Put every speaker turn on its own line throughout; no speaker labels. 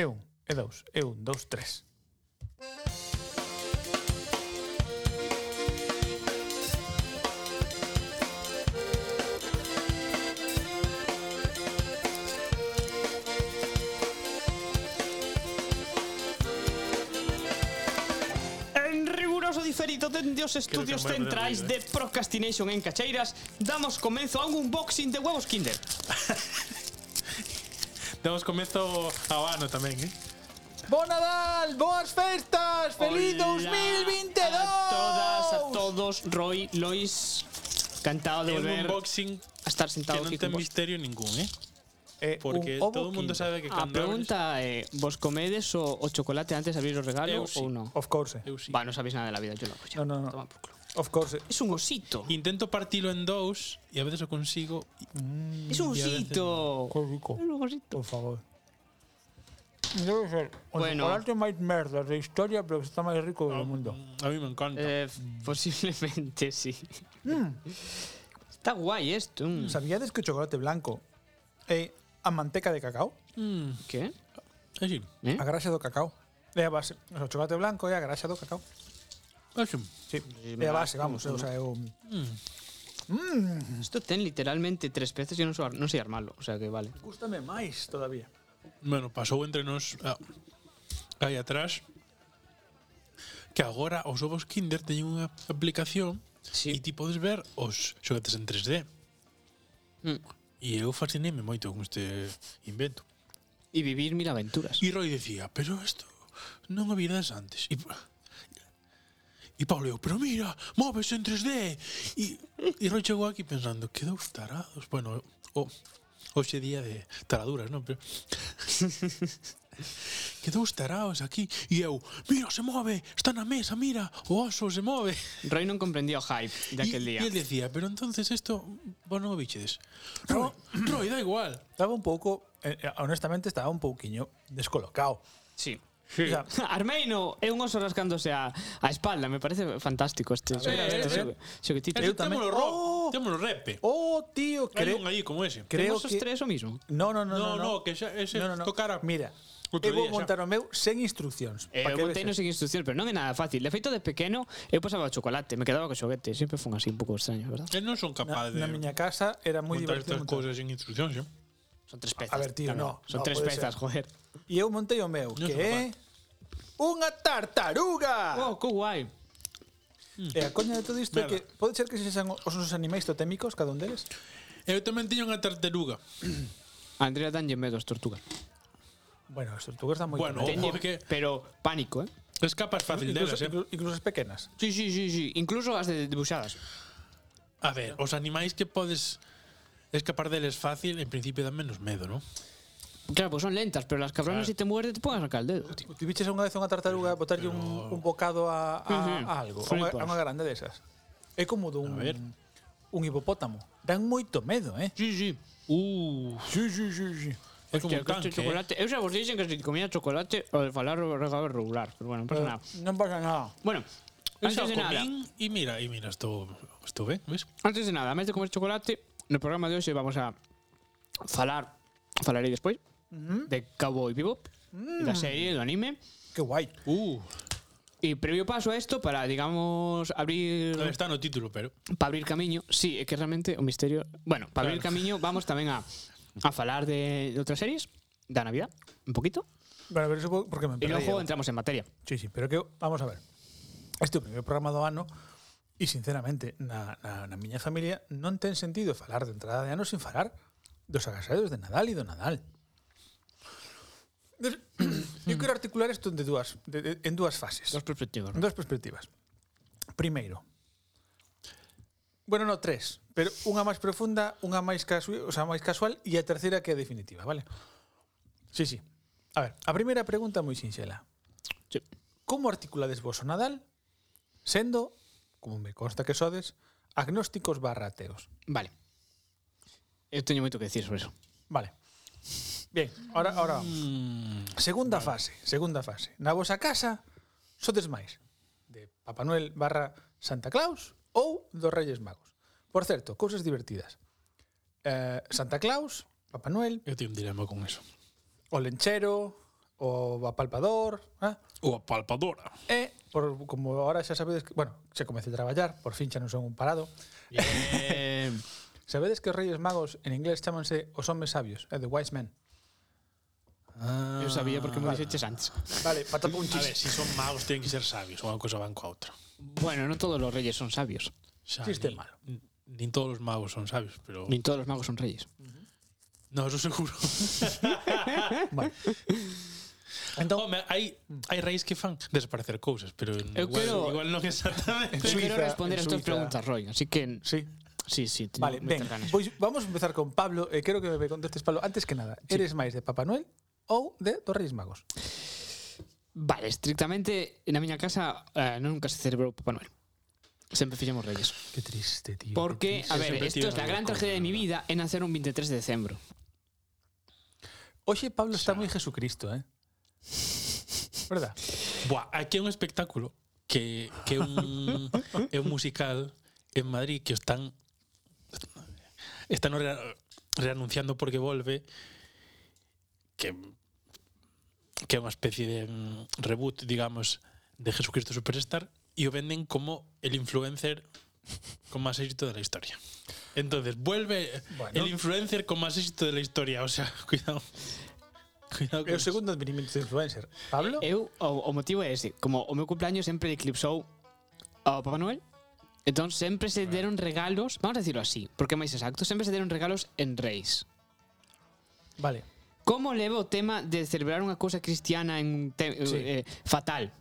E un, e dous, e un, dous, tres.
En riguroso diferido dende os estudios
Creo que é moi
centrais de
redondo,
Procrastination en Cacheiras Damos comenzo a un unboxing de huevos Kinder
Damos comezo ao ano tamén, eh?
Bo Nadal, boas festas, feliz
Hola
2022.
A todas, a todos, Roy, Lois Encantado de
É un
volver
unboxing
a estar
que
sentado
non
aquí
ten
con vos
misterio ningún, eh?
Eh,
Porque
un ovo
todo o
Kinder.
mundo sabe que
A
cando abres-
Ah, pregunta é, vos comedes o, o chocolate antes de abrir o regalo
Eu Eh, sí.
ou non?
Of course.
Eu sí.
Va, non sabéis nada de la vida, yo no, pues ya.
No, no, no.
Toma por culo.
Of course.
Es un osito.
Intento partilo en dous e a veces o consigo.
Es un
y a veces
osito.
Qué rico.
Es un osito.
Por favor. Debe ser o
Bueno.
chocolate máis merda da historia, pero está máis rico do mundo.
Mm, A mí me encanta.
Eh, posiblemente sí.
Mm.
Está guay esto. mm.
Sabíades que o chocolate blanco é a manteca de cacao?
Mm,
¿Qué?
así,
¿Eh?
A graxa do cacao. É a base. O chocolate blanco é a graxa do cacao.
así.
Sí.
me
É a base,
vas,
vamos. eh, O sea, é o...
Mm.
Esto ten literalmente tres peces. Yo no soy, no sé armarlo. O sea que vale.
Gústame máis todavía.
Bueno, pasou entre nos ah, aí atrás que agora os ovos Kinder teñen unha aplicación
Sí.
e ti podes ver os xoguetes en 3D.
Mm.
E eu fascineime moito con este invento.
Y vivir mil aventuras.
E Roy decía, pero isto non o virades antes. E, e Pablo, eu, pero mira, moves en 3D. E, e Roy chegou aquí pensando, que dous tarados. Bueno, o, hoxe día de taraduras, non? Pero, que dous tarados aquí. E eu, mira, se move, está na mesa, mira, o oso se move.
Roy no comprendió hype de aquel
e,
día.
E ele decía, pero entonces isto, vos non o bichedes. No, Roy, da igual.
Estaba un pouco... eh, eh, honestamente, estaba un pouquiño descolocado.
Sí.
Sí. O sea,
Armeino é un oso rascándose a, a espalda. Me parece fantástico este.
ver,
a ver, a ver.
xogue- xoguetito.
Eu
Eu
tamén-
Témolo ro,
Oh!
témolo repe.
oh, tío,
Hai
creo...
un eh, aí como ese.
Creo
Temos os
que...
tres o mismo.
No, no, no,
No,
no,
no, que xa- ese
no, no, no.
tocara
Mira,
outro
eu vou
día xa.
montar o meu sen instruccións.
Eh,
pa
eu
que
montei
vexas.
sin instrucción, pero non é nada fácil. De feito, de pequeno, eu pasaba o chocolate, me quedaba co xoguete. Sempre fun así un pouco extraño, verdad?
Eu non son
Na,
capaz de
na miña casa era moi
montar
divertido
estas
montar.
cousas sin instruccións, xa.
Son tres
A
pezas.
ver, tío, no,
Son
no
tres
puede
pezas,
ser.
joder.
E eu montei o meu,
Non
que
sou
é unha tartaruga.
Oh, que guai.
E a coña de todo isto é
Merda.
que pode ser que se sexan os nosos animais totémicos cada un deles?
Eu tamén teño unha tartaruga.
A Andrea danlle medo as tortugas.
Bueno, as tortugas dan moito medo.
Bueno,
Teñe,
Ojo, que-
pero pánico, eh?
Escapas fácil
incluso,
delas, eh.
incluso, incluso as pequenas.
Sí, sí, sí, sí. Incluso as de dibuxadas.
A ver, os animais que podes escapar deles fácil, en principio dan menos medo, non?
Claro, pois son lentas, pero las cabronas se
Claro.
te muerde te poden sacar el dedo, tío.
Ti viches unha vez unha tartaruga botarlle un, un bocado a, a,
Sí, sí.
a algo, a unha, a
Flipas.
unha grande desas. É como dun
A ver.
un hipopótamo. Dan moito medo, eh?
Sí, sí. Uh,
Sí, sí, sí, sí.
É como
hostia, que
un
este
tanque. eh.
chocolate. Eu xa vos dixen que se comía chocolate o de falar o regalo regular, pero bueno, non pasa nada.
Non pasa nada.
Bueno,
Eu
antes
xa o
de nada,
comín e mira, e mira, estou estou ben, ves?
Antes de nada, antes de comer chocolate, no programa de hoxe vamos a falar, falarei despois, de Cowboy Bebop, da serie, do anime,
Que guai.
Uh,
e previo paso a isto para, digamos, abrir
a ver, está no título, pero
para abrir camiño, sí, é que realmente o misterio, bueno, para abrir camiño vamos tamén a a falar de, de outras series da Navidad, un poquito,
Bueno, pero supo porque me
e
emperdei. eu.
logo entramos en materia.
Sí, sí, pero que eu- vamos a ver. Este é o primeiro programa do ano e sinceramente na, na, na miña familia non ten sentido falar de entrada de ano sin falar dos agasallos de Nadal e do Nadal. Des- Eu quero articular isto de dúas, de, de, en dúas fases,
Dos perspectivas.
en
¿no?
dúas perspectivas. Primeiro, bueno, no tres, pero unha máis profunda, unha máis casual, o sea, máis casual e a terceira que é definitiva, vale? Sí, sí. A ver, a primeira pregunta é moi sinxela.
Sí.
Como articulades vos o Nadal sendo, como me consta que sodes, agnósticos barra ateos?
Vale. Eu teño moito que decir sobre eso.
Vale. Bien, ahora, ahora vamos. Segunda fase, segunda fase. Na vosa casa sodes máis de Papá Noel barra Santa Claus ou dos Reyes Magos. Por certo, cousas divertidas. Eh, Santa Claus, Papá Noel,
eu teño un dilema con eso.
o lenchero, o o a palpador, ah,
O a palpadora.
e por, como ahora xa sabedes que, bueno, se comece a traballar, por fin xa non son un parado.
Bien.
Sabedes que os Reyes Magos en inglés chámanse os homes sabios, eh, the wise men.
Yo sabía porque me lo dices antes.
Vale, pata punchis.
A ver, si son magos tienen que ser sabios, una cosa van con otra.
Bueno, no todos los reyes son sabios.
Xa,
Chiste
ni-
malo.
n- Ni todos los magos son sabios, pero...
Ni todos los magos son reyes.
No, eso seguro.
Vale.
Entón, Home, hai, hai reis que fan desaparecer cousas, pero
Eu
igual,
quero-
igual non
En
exactamente.
Yo quiero
Suiza,
responder
en
a estas
Suiza.
preguntas, Roy. Así que
Sí.
sí, sí. tengo
Vale,
muchas
ben,
ganas.
pois vamos a empezar con Pablo. Eh, quero que me contestes, Pablo, antes que nada, sí. eres máis de Papá Noel ou de dos Reis Magos?
Vale, estrictamente na miña casa eh, nunca se celebrou Papá Noel. Sempre fixemos reyes.
Qué triste, tío.
Porque, a ver,
Sempre
esto es
tiven
la gran
algo
tragedia de
con-
mi vida é nacer un 23 de decembro.
Oxe, Pablo está
Xa.
moi Jesucristo, eh? Verdad?
Buah, aquí hai un espectáculo que que é un é un musical en Madrid que o están están re- reanunciando porque volve que que é unha especie de mm, reboot, digamos, de Jesucristo Superstar e o venden como el influencer con máis éxito de la historia. Entonces, vuelve
Bueno.
el influencer con máis éxito de la historia, o sea, cuidado. Cuidado.
É o
con eso.
segundo advenimento de influencer. Pablo?
Eu, o, o motivo é ese. Como o meu cumpleaños sempre eclipsou ao Papá Noel, entón sempre se deron regalos, vamos a decirlo así, porque é máis exacto, sempre se deron regalos en reis.
Vale.
Como levo o tema de celebrar unha cousa cristiana en te,
Sí.
eh, fatal?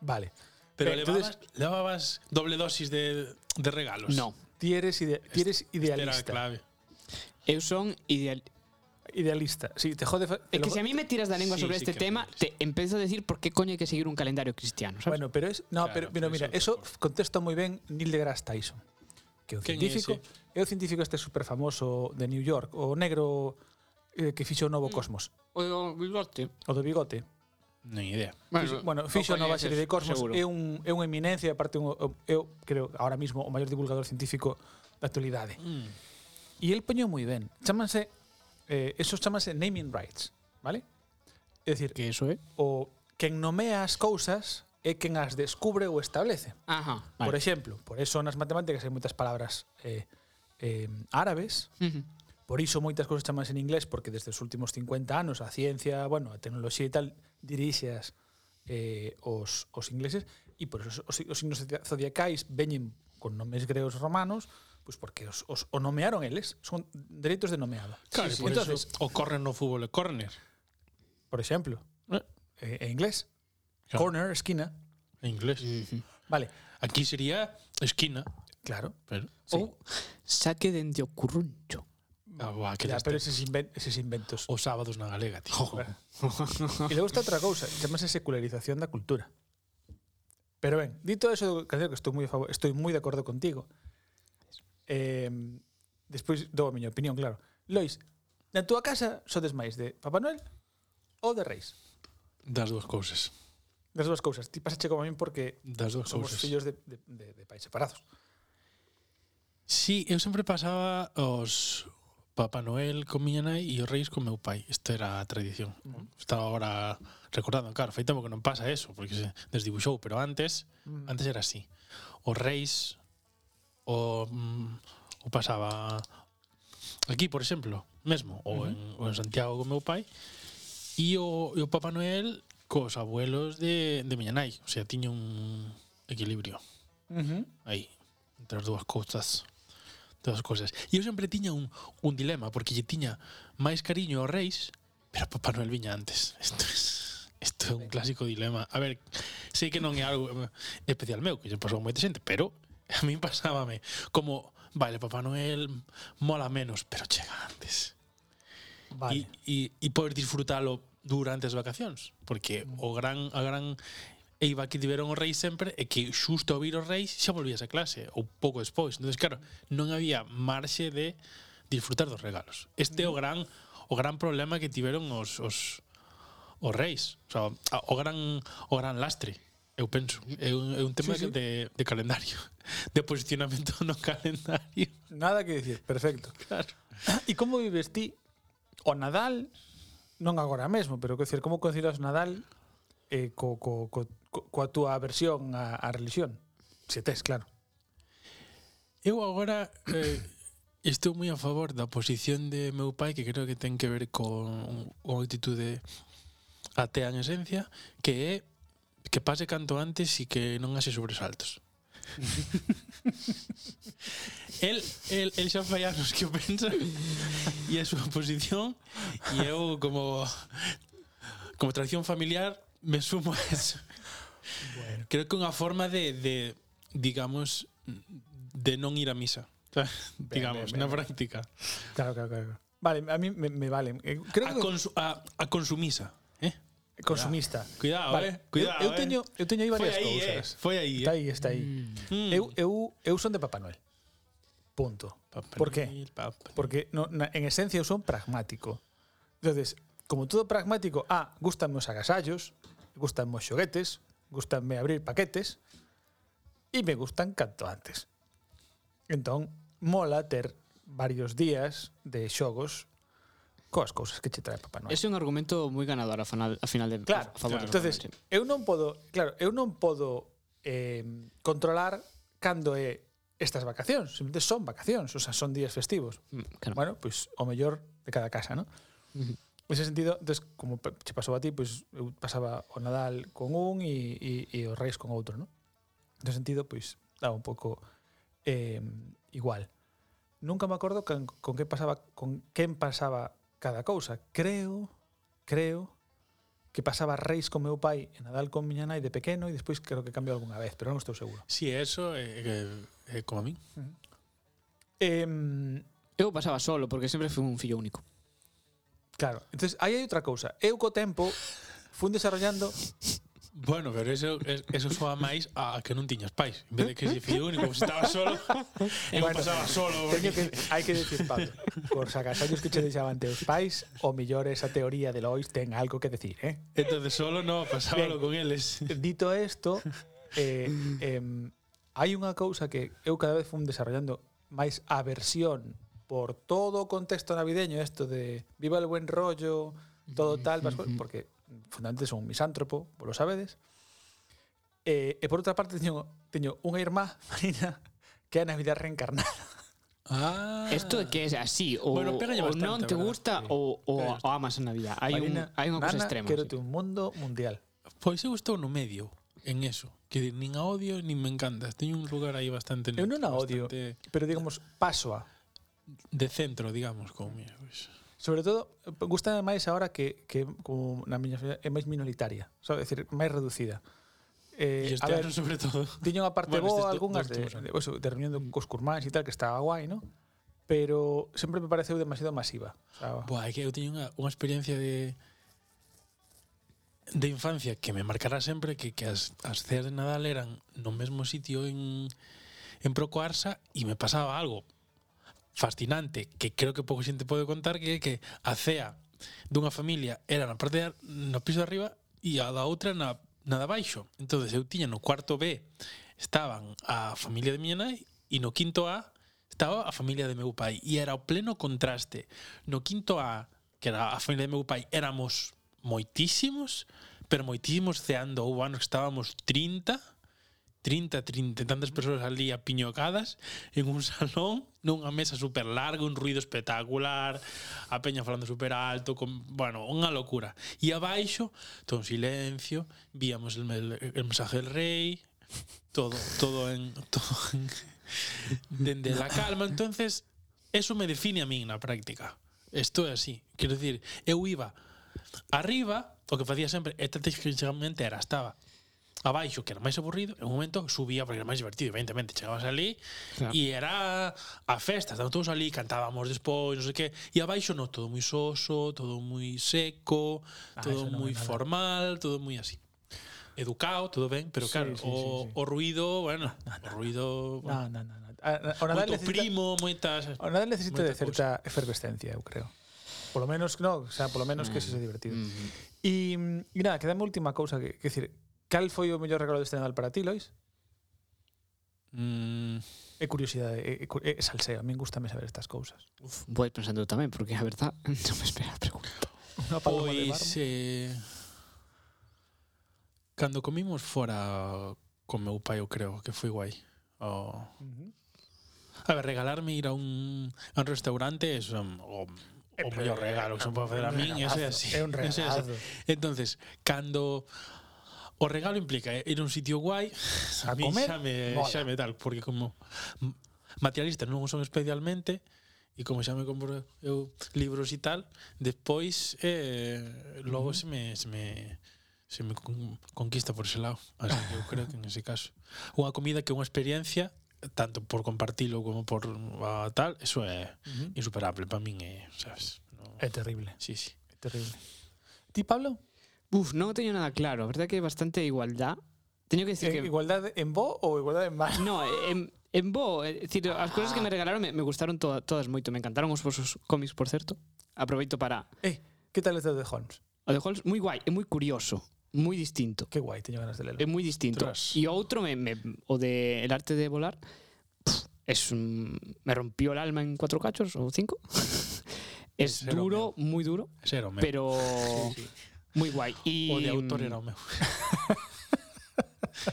Vale.
Pero
Eh,
levabas, levabas doble dosis de, de regalos.
No.
ti eres, ide ti eres
Era a
idealista.
clave.
Eu son ideal,
Idealista. Sí, te jode... fa-
É que
lo-
si a mí me tiras da lengua
Sí,
sobre
sí
este
que
tema,
puedes.
te empiezo a decir por qué coño hay que seguir un calendario cristiano, ¿sabes?
Bueno, pero es no, pero,
Claro, pero
pero mira, eso
eso es otra
contesta moi ben Neil deGrasse Tyson, que é o
Quen
científico,
é ese?
é o científico este superfamoso de New York, o negro eh, que fixo o
Mm.
Novo Cosmos,
o bigote.
o do bigote.
No idea.
Fixo, bueno, fixo a nova serie de Cosmos, é un é unha eminencia, e aparte un, eu creo ahora mismo o maior divulgador científico da actualidade.
Mm.
E el poñeu moi ben. Chámanse eh, esos chámanse naming rights, vale? É dicir,
Que eso, ¿eh?
o quen nomea as cousas é quen as descubre ou establece.
Ajá.
Vale. Por exemplo, por eso nas matemáticas hai moitas palabras eh, eh, árabes,
Ujú.
por iso moitas cousas chamas en inglés, porque desde os últimos 50 anos a ciencia, bueno, a tecnoloxía e tal, dirixeas eh, os, os ingleses, e por iso os, os signos zodia- zodiacais veñen con nomes gregos romanos, pois porque os, os o nomearon eles, son dereitos de nomeado.
Claro,
Sí, sí.
por
Entonces,
eso, o corner no fútbol, o corner.
por exemplo,
Eh.
eh, en inglés,
Claro.
corner, esquina,
En inglés.
vale,
Aquí sería esquina,
claro,
pero...
O saque dende o curruncho.
Ah, buah, que
ya, pero
destre-
eses, inven eses inventos.
Os sábados na galega, tío.
E logo está outra cousa, chamase secularización da cultura. Pero ben, dito eso do canción que estou moi a favor, estou moi de acordo contigo. Eh, despois dou a miña opinión, claro. Lois, na túa casa sodes máis de Papá Noel ou de Reis?
Das dúas cousas.
Das dúas cousas. Ti pasache como a min porque
Das dúas
somos
cousas.
fillos de, de, de, de pais separados.
Sí, eu sempre pasaba os Papá Noel con miña nai e os reis con meu pai. Esta era a tradición. Uh -huh. Estaba agora recordando, claro, feita que non pasa eso, porque se desdibuixou, pero antes, uh -huh. antes era así. Os reis o, mm, o pasaba aquí, por exemplo, mesmo, ou, uh -huh. en, ou en Santiago con meu pai, e o, e o Papá Noel cos abuelos de, de miña nai. O sea, tiña un equilibrio
Uh -huh.
aí entre as dúas cousas dúas cousas e eu sempre tiña un, un dilema porque lle tiña máis cariño aos reis pero Papá Noel viña antes isto é isto é un clásico dilema a ver sei que non é algo eh, especial meu que lle pasou a moita xente pero a min pasábame como vale Papá Noel mola menos pero chega antes
Vale.
e, e, e poder disfrutalo durante as vacacións, porque
Mm.
o gran a gran eiva que tiveron os reis sempre é que xusto ao vir os reis xa volvías a clase ou pouco despois. Entonces, claro, non había marxe de disfrutar dos regalos. Este é o
Mm.
gran o gran problema que tiveron os os os reis, o, sea, a- o gran o gran lastre. Eu penso, é un, é un tema
Sí, sí.
sí, sí. de de calendario, de posicionamento no calendario,
Nada que dicir, perfecto.
claro.
E como vives ti o Nadal non agora mesmo, pero quer dizer, como concilias Nadal eh, co, co, co, co, coa túa aversión á, á religión? Se tes, claro.
Eu agora eh, estou moi a favor da posición de meu pai que creo que ten que ver con unha actitude atea en esencia que é que pase canto antes e que non haxe sobresaltos. el, el, el xa fai anos que o pensa e a súa posición e eu como como tradición familiar me sumo a eso.
Bueno.
Creo que é unha forma de, de digamos de non ir a misa. digamos,
ben,
na
ben.
práctica.
Claro, claro, claro. Vale, a mí me, me vale. Eh, Creo
A,
que
consu a, a consumisa. Eh?
consumista.
Cuidado,
Vale,
eh. Cuidado,
eu, eu teño
eh.
eu teño aí
Foi
varias
aí, eh.
cousas.
Foi aí,
Está
eh.
aí, está aí.
Mm.
Eu eu eu son de Papá Noel. Punto.
Papá
por qué?
Noel, Papá Noel.
Porque no, na, en esencia eu son pragmático. Entonces, como todo pragmático, ah, gustanme os agasallos, gustanme os xoguetes, gustanme abrir paquetes e me gustan canto antes. Entón, mola ter varios días de xogos coas cousas que che trae Papá Noel.
Ese é un argumento moi ganador a final, a final de
Claro,
a favor
claro.
do
Entonces,
Real Madrid.
eu non podo, claro, eu non podo eh, controlar cando é estas vacacións, simplemente son vacacións, o sea, son días festivos.
Mm, claro.
Bueno, pois pues, o mellor de cada casa, ¿no?
Ujú.
Nese sentido, entonces, como pe- che pasou a ti, pois pues, eu pasaba o Nadal con un e, e, e os Reis con outro, ¿no? Nese sentido, pois pues, daba un pouco eh, igual. Nunca me acordo con, con que pasaba con quen pasaba cada cousa. Creo, creo que pasaba Reis con meu pai e Nadal con miña nai de pequeno e despois creo que cambiou algunha vez, pero non estou seguro.
Si, eso é eh, eh, como a min.
Eh,
Eu pasaba solo porque sempre fui un fillo único.
claro, entonces aí hai outra cousa. Eu co tempo fun desarrollando
Bueno, pero eso, es- eso soa máis a que non tiñas pais. En vez de que se fillo único, se estaba solo, eu
Bueno,
pasaba solo.
Teño
Porque...
que, hai que decir, Pablo, por agasallos que che deixaban teus pais, o millor esa teoría de Lois ten algo que decir, eh?
Entonces solo no,
Bien.
pasábalo con eles.
Dito isto, eh, eh, hai unha cousa que eu cada vez fun desarrollando máis aversión por todo o contexto navideño, isto de viva el buen rollo, todo tal, vas- porque fundamentalmente son un misántropo, vos lo sabedes. Eh, e por outra parte teño, teño unha irmá, Marina, que é a Navidad reencarnada.
Ah.
Esto de que es así, o,
Bueno, pégalle
o
bastante,
non te
¿verdad?
gusta
Sí.
o, o,
Pégalle
o amas a Navidad. Hai un
Marina,
hai unha cousa
nana,
extrema.
Quero
sí.
te un mundo mundial.
Pois eu estou no medio en eso. Que dir, nin a odio, nin me encantas. Teño un lugar aí bastante...
Eu non a odio.
bastante
Pero digamos, paso a.
De centro, digamos, como mira, pois.
Sobre todo, gusta máis ahora que, que como na miña familia é máis minoritaria, sabe, decir, máis reducida.
E
Eh, a
este
ver,
ano, sobre todo.
tiño unha parte
Bueno,
bueno, boa
estes do-
algunhas
dos
de,
últimos
de,
anos.
eso, de reunión cos curmáns e tal, que estaba guai, ¿no? Pero sempre me pareceu demasiado masiva. O sea,
Buah, é que eu teño unha, unha experiencia de de infancia que me marcará sempre que, que as, as ceas de Nadal eran no mesmo sitio en, en Procoarsa e me pasaba algo fascinante que creo que pouco xente pode contar que é que a cea dunha familia era na parte de, ar- no piso de arriba e a da outra na, na de baixo entonces eu tiña no cuarto B estaban a familia de miña nai e no quinto A estaba a familia de meu pai e era o pleno contraste no quinto A, que era a familia de meu pai, éramos moitísimos, pero moitísimos ceando. Houve anos que estábamos 30, 30, 30 e tantas persoas ali apiñocadas en un salón, nunha mesa super larga, un ruido espectacular, a peña falando super alto, con, bueno, unha locura. E abaixo, todo en silencio, víamos el, el, el mensaje del rei, todo, todo en... Todo en dende la calma, entonces eso me define a min na práctica. Isto é así. Quero dicir, eu iba arriba, o que facía sempre estratégicamente era estaba abaixo, que era máis aburrido, en un momento subía porque era máis divertido, evidentemente, chegabas ali
Claro. Mm,
e era a festa, estaban todos ali, cantábamos despois, non sei que, e abaixo non, todo moi soso, todo moi seco,
Ah,
todo
eso non
moi
é nada.
formal, todo moi así. Educado, todo ben, pero
Sí,
claro,
sí, sí,
o,
sí.
o ruido, bueno, o ruido... bueno,
na, na, na, na. A- na- O Nadal
moito
necesita,
primo, moitas...
o Nadal necesita
moita
de certa efervescencia, eu creo. Por lo menos, no, o sea, por lo menos que
Mm,
se sea divertido.
Mhm.
E, e nada, quedame última cousa que, que decir, cal foi o mellor regalo deste Nadal para ti, Lois?
Mm,
É curiosidade, é, é, cu- é salseo, a min gustame saber estas cousas.
Vou ir pensando tamén porque a verdad non me espera a pregunta.
Unha paloma de barro.
Pois eh, Cando comimos fora Con meu pai eu creo que foi guai oh.
Ujú.
A ver, regalarme ir a un, a un restaurante Es um, o, o
Eh, pero
mellor
é
regalo que se pode facer a min Ese é así
É un
ese é así.
regalazo.
Entonces, cando O regalo implica ir a un sitio guai
A
mí
comer,
xa me,
mola.
xa me tal Porque como m- materialista non o son especialmente E como xa me compro eu libros e tal Despois eh, Logo se me Se me, se me con- conquista por ese lado Así que eu creo que en ese caso Unha comida que é unha experiencia Tanto por compartilo como por ah, tal Eso é
Ujú.
insuperable Para min é, sabes no,
É terrible,
Sí, sí
é terrible. Ti, Pablo?
Uf, no teño nada claro. A verdade é que hai bastante igualdad. Teño que
Sí,
dicir que...
Igualdade ¿Eh, en bo ou igualdade en mal?
No, en, en bo, eh, é dicir, as cousas
Ah.
que me regalaron me, me gustaron toda, todas moito, me encantaron os vosos cómics, por certo. Aproveito para
Eh, que tal este de Holmes?
o de Holmes, moi guai, é moi curioso, moi distinto,
Que guai, teño ganas de
Em-
lelo.
é moi distinto.
Tras.
E outro me, me o de El arte de volar, pff, es un, me rompió el alma en cuatro cachos ou cinco. es
Ese era o
duro, moi duro,
Ese era o meu
pero moi guai. E
O de autor era o meu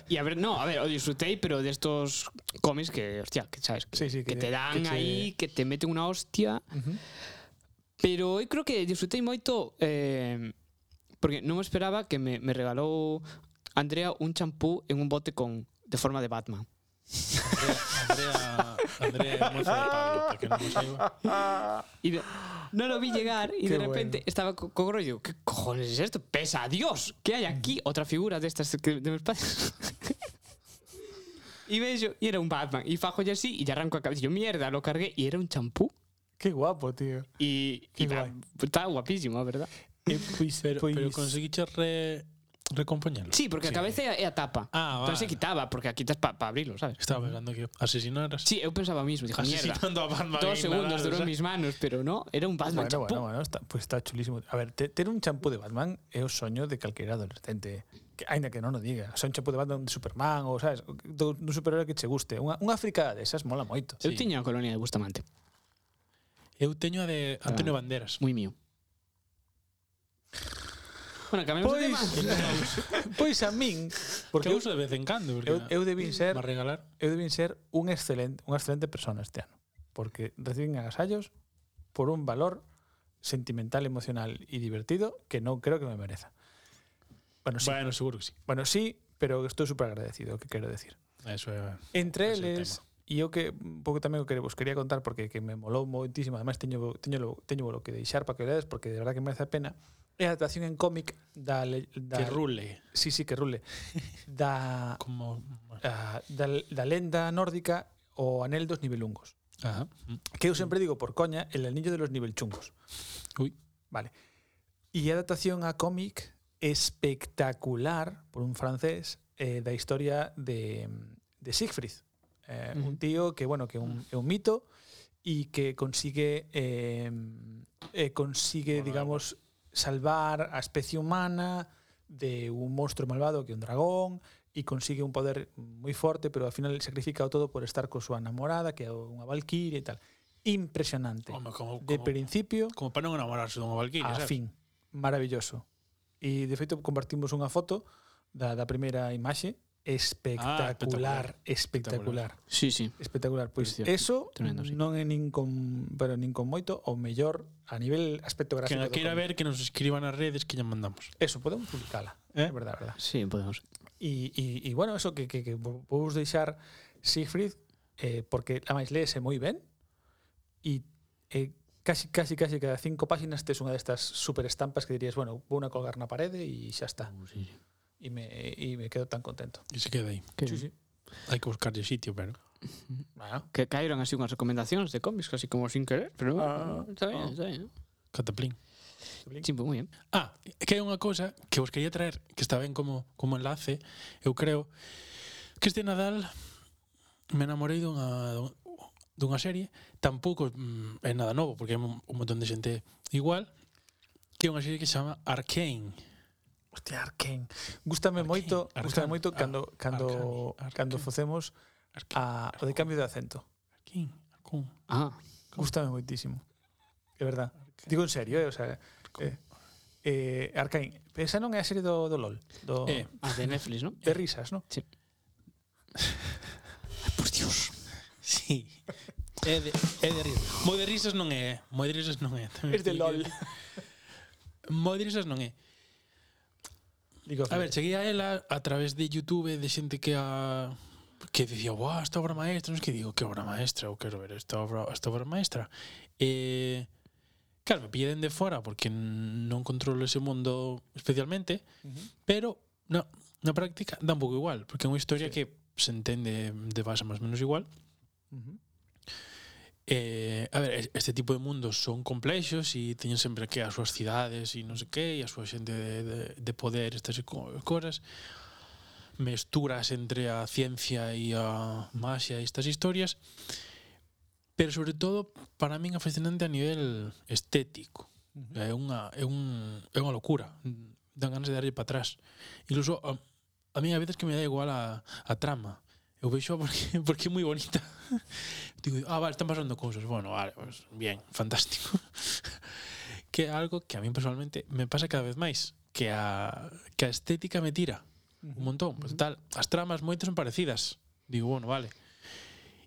Y a ver, no, a ver, o disfrutéis, pero de estos cómics que, hostia, que sabes, que,
Sí, sí, que-
que te dan
que te-
ahí, que te meten una hostia.
Ujú.
Pero eu creo que disfrutei moito eh, porque non me esperaba que me, me regalou Andrea un champú en un bote con de forma de Batman.
Andrea, Andrea é moza de Pablo Para que non o saiba
Y de- no lo vi llegar y
Qué
de repente
bueno.
estaba co- con rollo. ¿Qué cojones es esto? ¡Pesa a Dios! ¿Qué hay aquí? Otra figura de estas que- de mis padres. y veo y era un Batman. Y fajo ya así y ya arranco a cabello. Mierda, lo cargué y era un champú.
Que guapo, tío.
Y,
Qué
y va-
guay.
está guapísimo, ¿verdad?
Eh, pois,
Pero,
pois,
pero conseguiche re, recompoñelo
Sí, porque a cabeza era era tapa.
Ah,
Entonces se
vale.
quitaba, porque a quitas para abrirlo, ¿sabes?
Estaba pensando que asesinaras
Sí, yo pensaba mismo. Dije, mierda.
Asesinando a Batman
Dos
en
segundos
Nadal,
duró en
¿sabes?
mis manos, pero no, era un Batman
bueno,
champú.
bueno, bueno, está, pois está chulísimo. A ver, te, ter un champú de Batman é o soño de calquera adolescente. Que, ainda que non o diga. O sea, un champú de Batman de Superman ou, sabes, do, do superhéroe que che guste. Unha, unha fricada desas mola moito.
Yo
sí.
tenía una colonia de Bustamante,
Eu teño a de Antonio Banderas
muy mío. Bueno, cambiamos de
Pois,
tema.
pois a min, porque
Porque eu
eu, Mm,
uso de vez en cando Porque
eu, eu debín ser
me regalar
eu debín ser un excelente, unha excelente persona este ano, porque reciben agasallos por un valor sentimental, emocional y divertido que non creo que me mereza. Bueno, sí, bueno,
Bueno, seguro que sí
sí pero estou super agradecido, que quero decir.
Eso é
Entre
Ese
eles, e eu que un pouco tamén o que vos quería contar porque que me molou moitísimo, además teño teño teño lo que deixar para que o leades porque de verdad que merece a pena. É a adaptación en cómic da, le- da
Que rule
Sí, sí, que rule. Da
Como
ah, da, da lenda nórdica o anel dos nivelungos.
Ajá.
Que eu sempre digo por coña el anillo de los nivelchungos.
Ui.
Vale. E a adaptación a cómic espectacular por un francés eh, da historia de, de Siegfried. Eh,
Ujú.
Un tío que, bueno, que é un, é un mito e que consigue eh, eh, consigue,
Mola,
digamos, salvar a especie humana de un monstruo malvado que é un dragón e consigue un poder moi forte, pero ao final sacrifica o todo por estar co súa namorada, que é unha valquiria e tal. Impresionante.
Home, como,
De
como,
principio
como para non enamorarse dunha Valkyria
a
sabes?
fin. Maravilloso. E de feito compartimos unha foto da, da primeira imaxe espectacular, ah, espectacular,
Sí, sí.
espectacular. Pois
Precioso.
eso
Tremendo, sí.
non é nin con, pero nin con moito ou mellor a nivel aspecto
Que
gráfico.
na
do
queira
cómic.
ver que nos escriban as redes que lle mandamos
Eso podemos publicala, é
Eh?
verdade, é verdade.
Sí, podemos.
E, e, e bueno, eso que, que, que vo- vos deixar Siegfried eh, porque ademais leese moi ben e eh, casi, casi, casi cada cinco páxinas tes unha destas super estampas que dirías, bueno, vou a colgar na parede e xa está.
Sí, sí.
E me, e me quedo tan contento.
E se queda aí
Que,
Sí, Ah, sí.
Hai que buscarlle sitio, pero
Bueno,
que caeron así unas recomendaciones de cómics, así como sin querer, pero
Ah,
está bien,
ah.
está bien.
Cataplín
Sí, pues muy bien.
Ah, é que hai unha cousa que vos quería traer que está ben como como enlace, eu creo que este Nadal me enamorei dunha dunha serie, tampouco mm, é nada novo porque é un, un montón de xente igual, que é unha serie que se chama Arcane.
hostia, Arkane. Gústame
Arkane,
moito,
Arkane,
gústame moito
ah,
cando cando
Arkane,
cando
Arkane.
facemos
Arcane,
a o de cambio de acento.
Arcane, Arcane.
Ah,
Gústame moitísimo. É verdad. Digo en serio, eh, o sea, eh, eh, Arcane, esa non é a serie do, do LOL, do,
Eh,
Ah, de Netflix, ¿no?
de risas, non?
Por Dios.
Sí. É de, é de risas. Moi de risas non é. Moi de risas non é.
Es de LOL.
Moi de risas non é.
Digo,
A ver, cheguei a ela a través de YouTube de xente que a que dicía, "Buah, esta obra maestra", non sei que digo, "Que obra maestra, eu quero ver esta obra, esta obra maestra". Eh, claro, me piden de fora porque non controlo ese mundo especialmente, pero na, na práctica dá un pouco igual, porque é unha
Sí.
historia sí. que se entende de base máis ou menos igual. Eh, a ver, es- este tipo de mundos son complexos e teñen sempre que as súas cidades e non sei que, e a súa xente de, de, de poder, estas co- cosas mesturas entre a ciencia e a maxia e estas historias pero sobre todo para min é fascinante a nivel estético é unha é un é unha locura dan ganas de darlle para atrás incluso a, a mí a veces que me dá igual a, a trama eu vexo porque porque é moi bonita digo ah vale están pasando cousas bueno vale pues bien fantástico que é algo que a mí personalmente me pasa cada vez máis que a que a estética me tira un montón pues tal as tramas moitas son parecidas digo bueno vale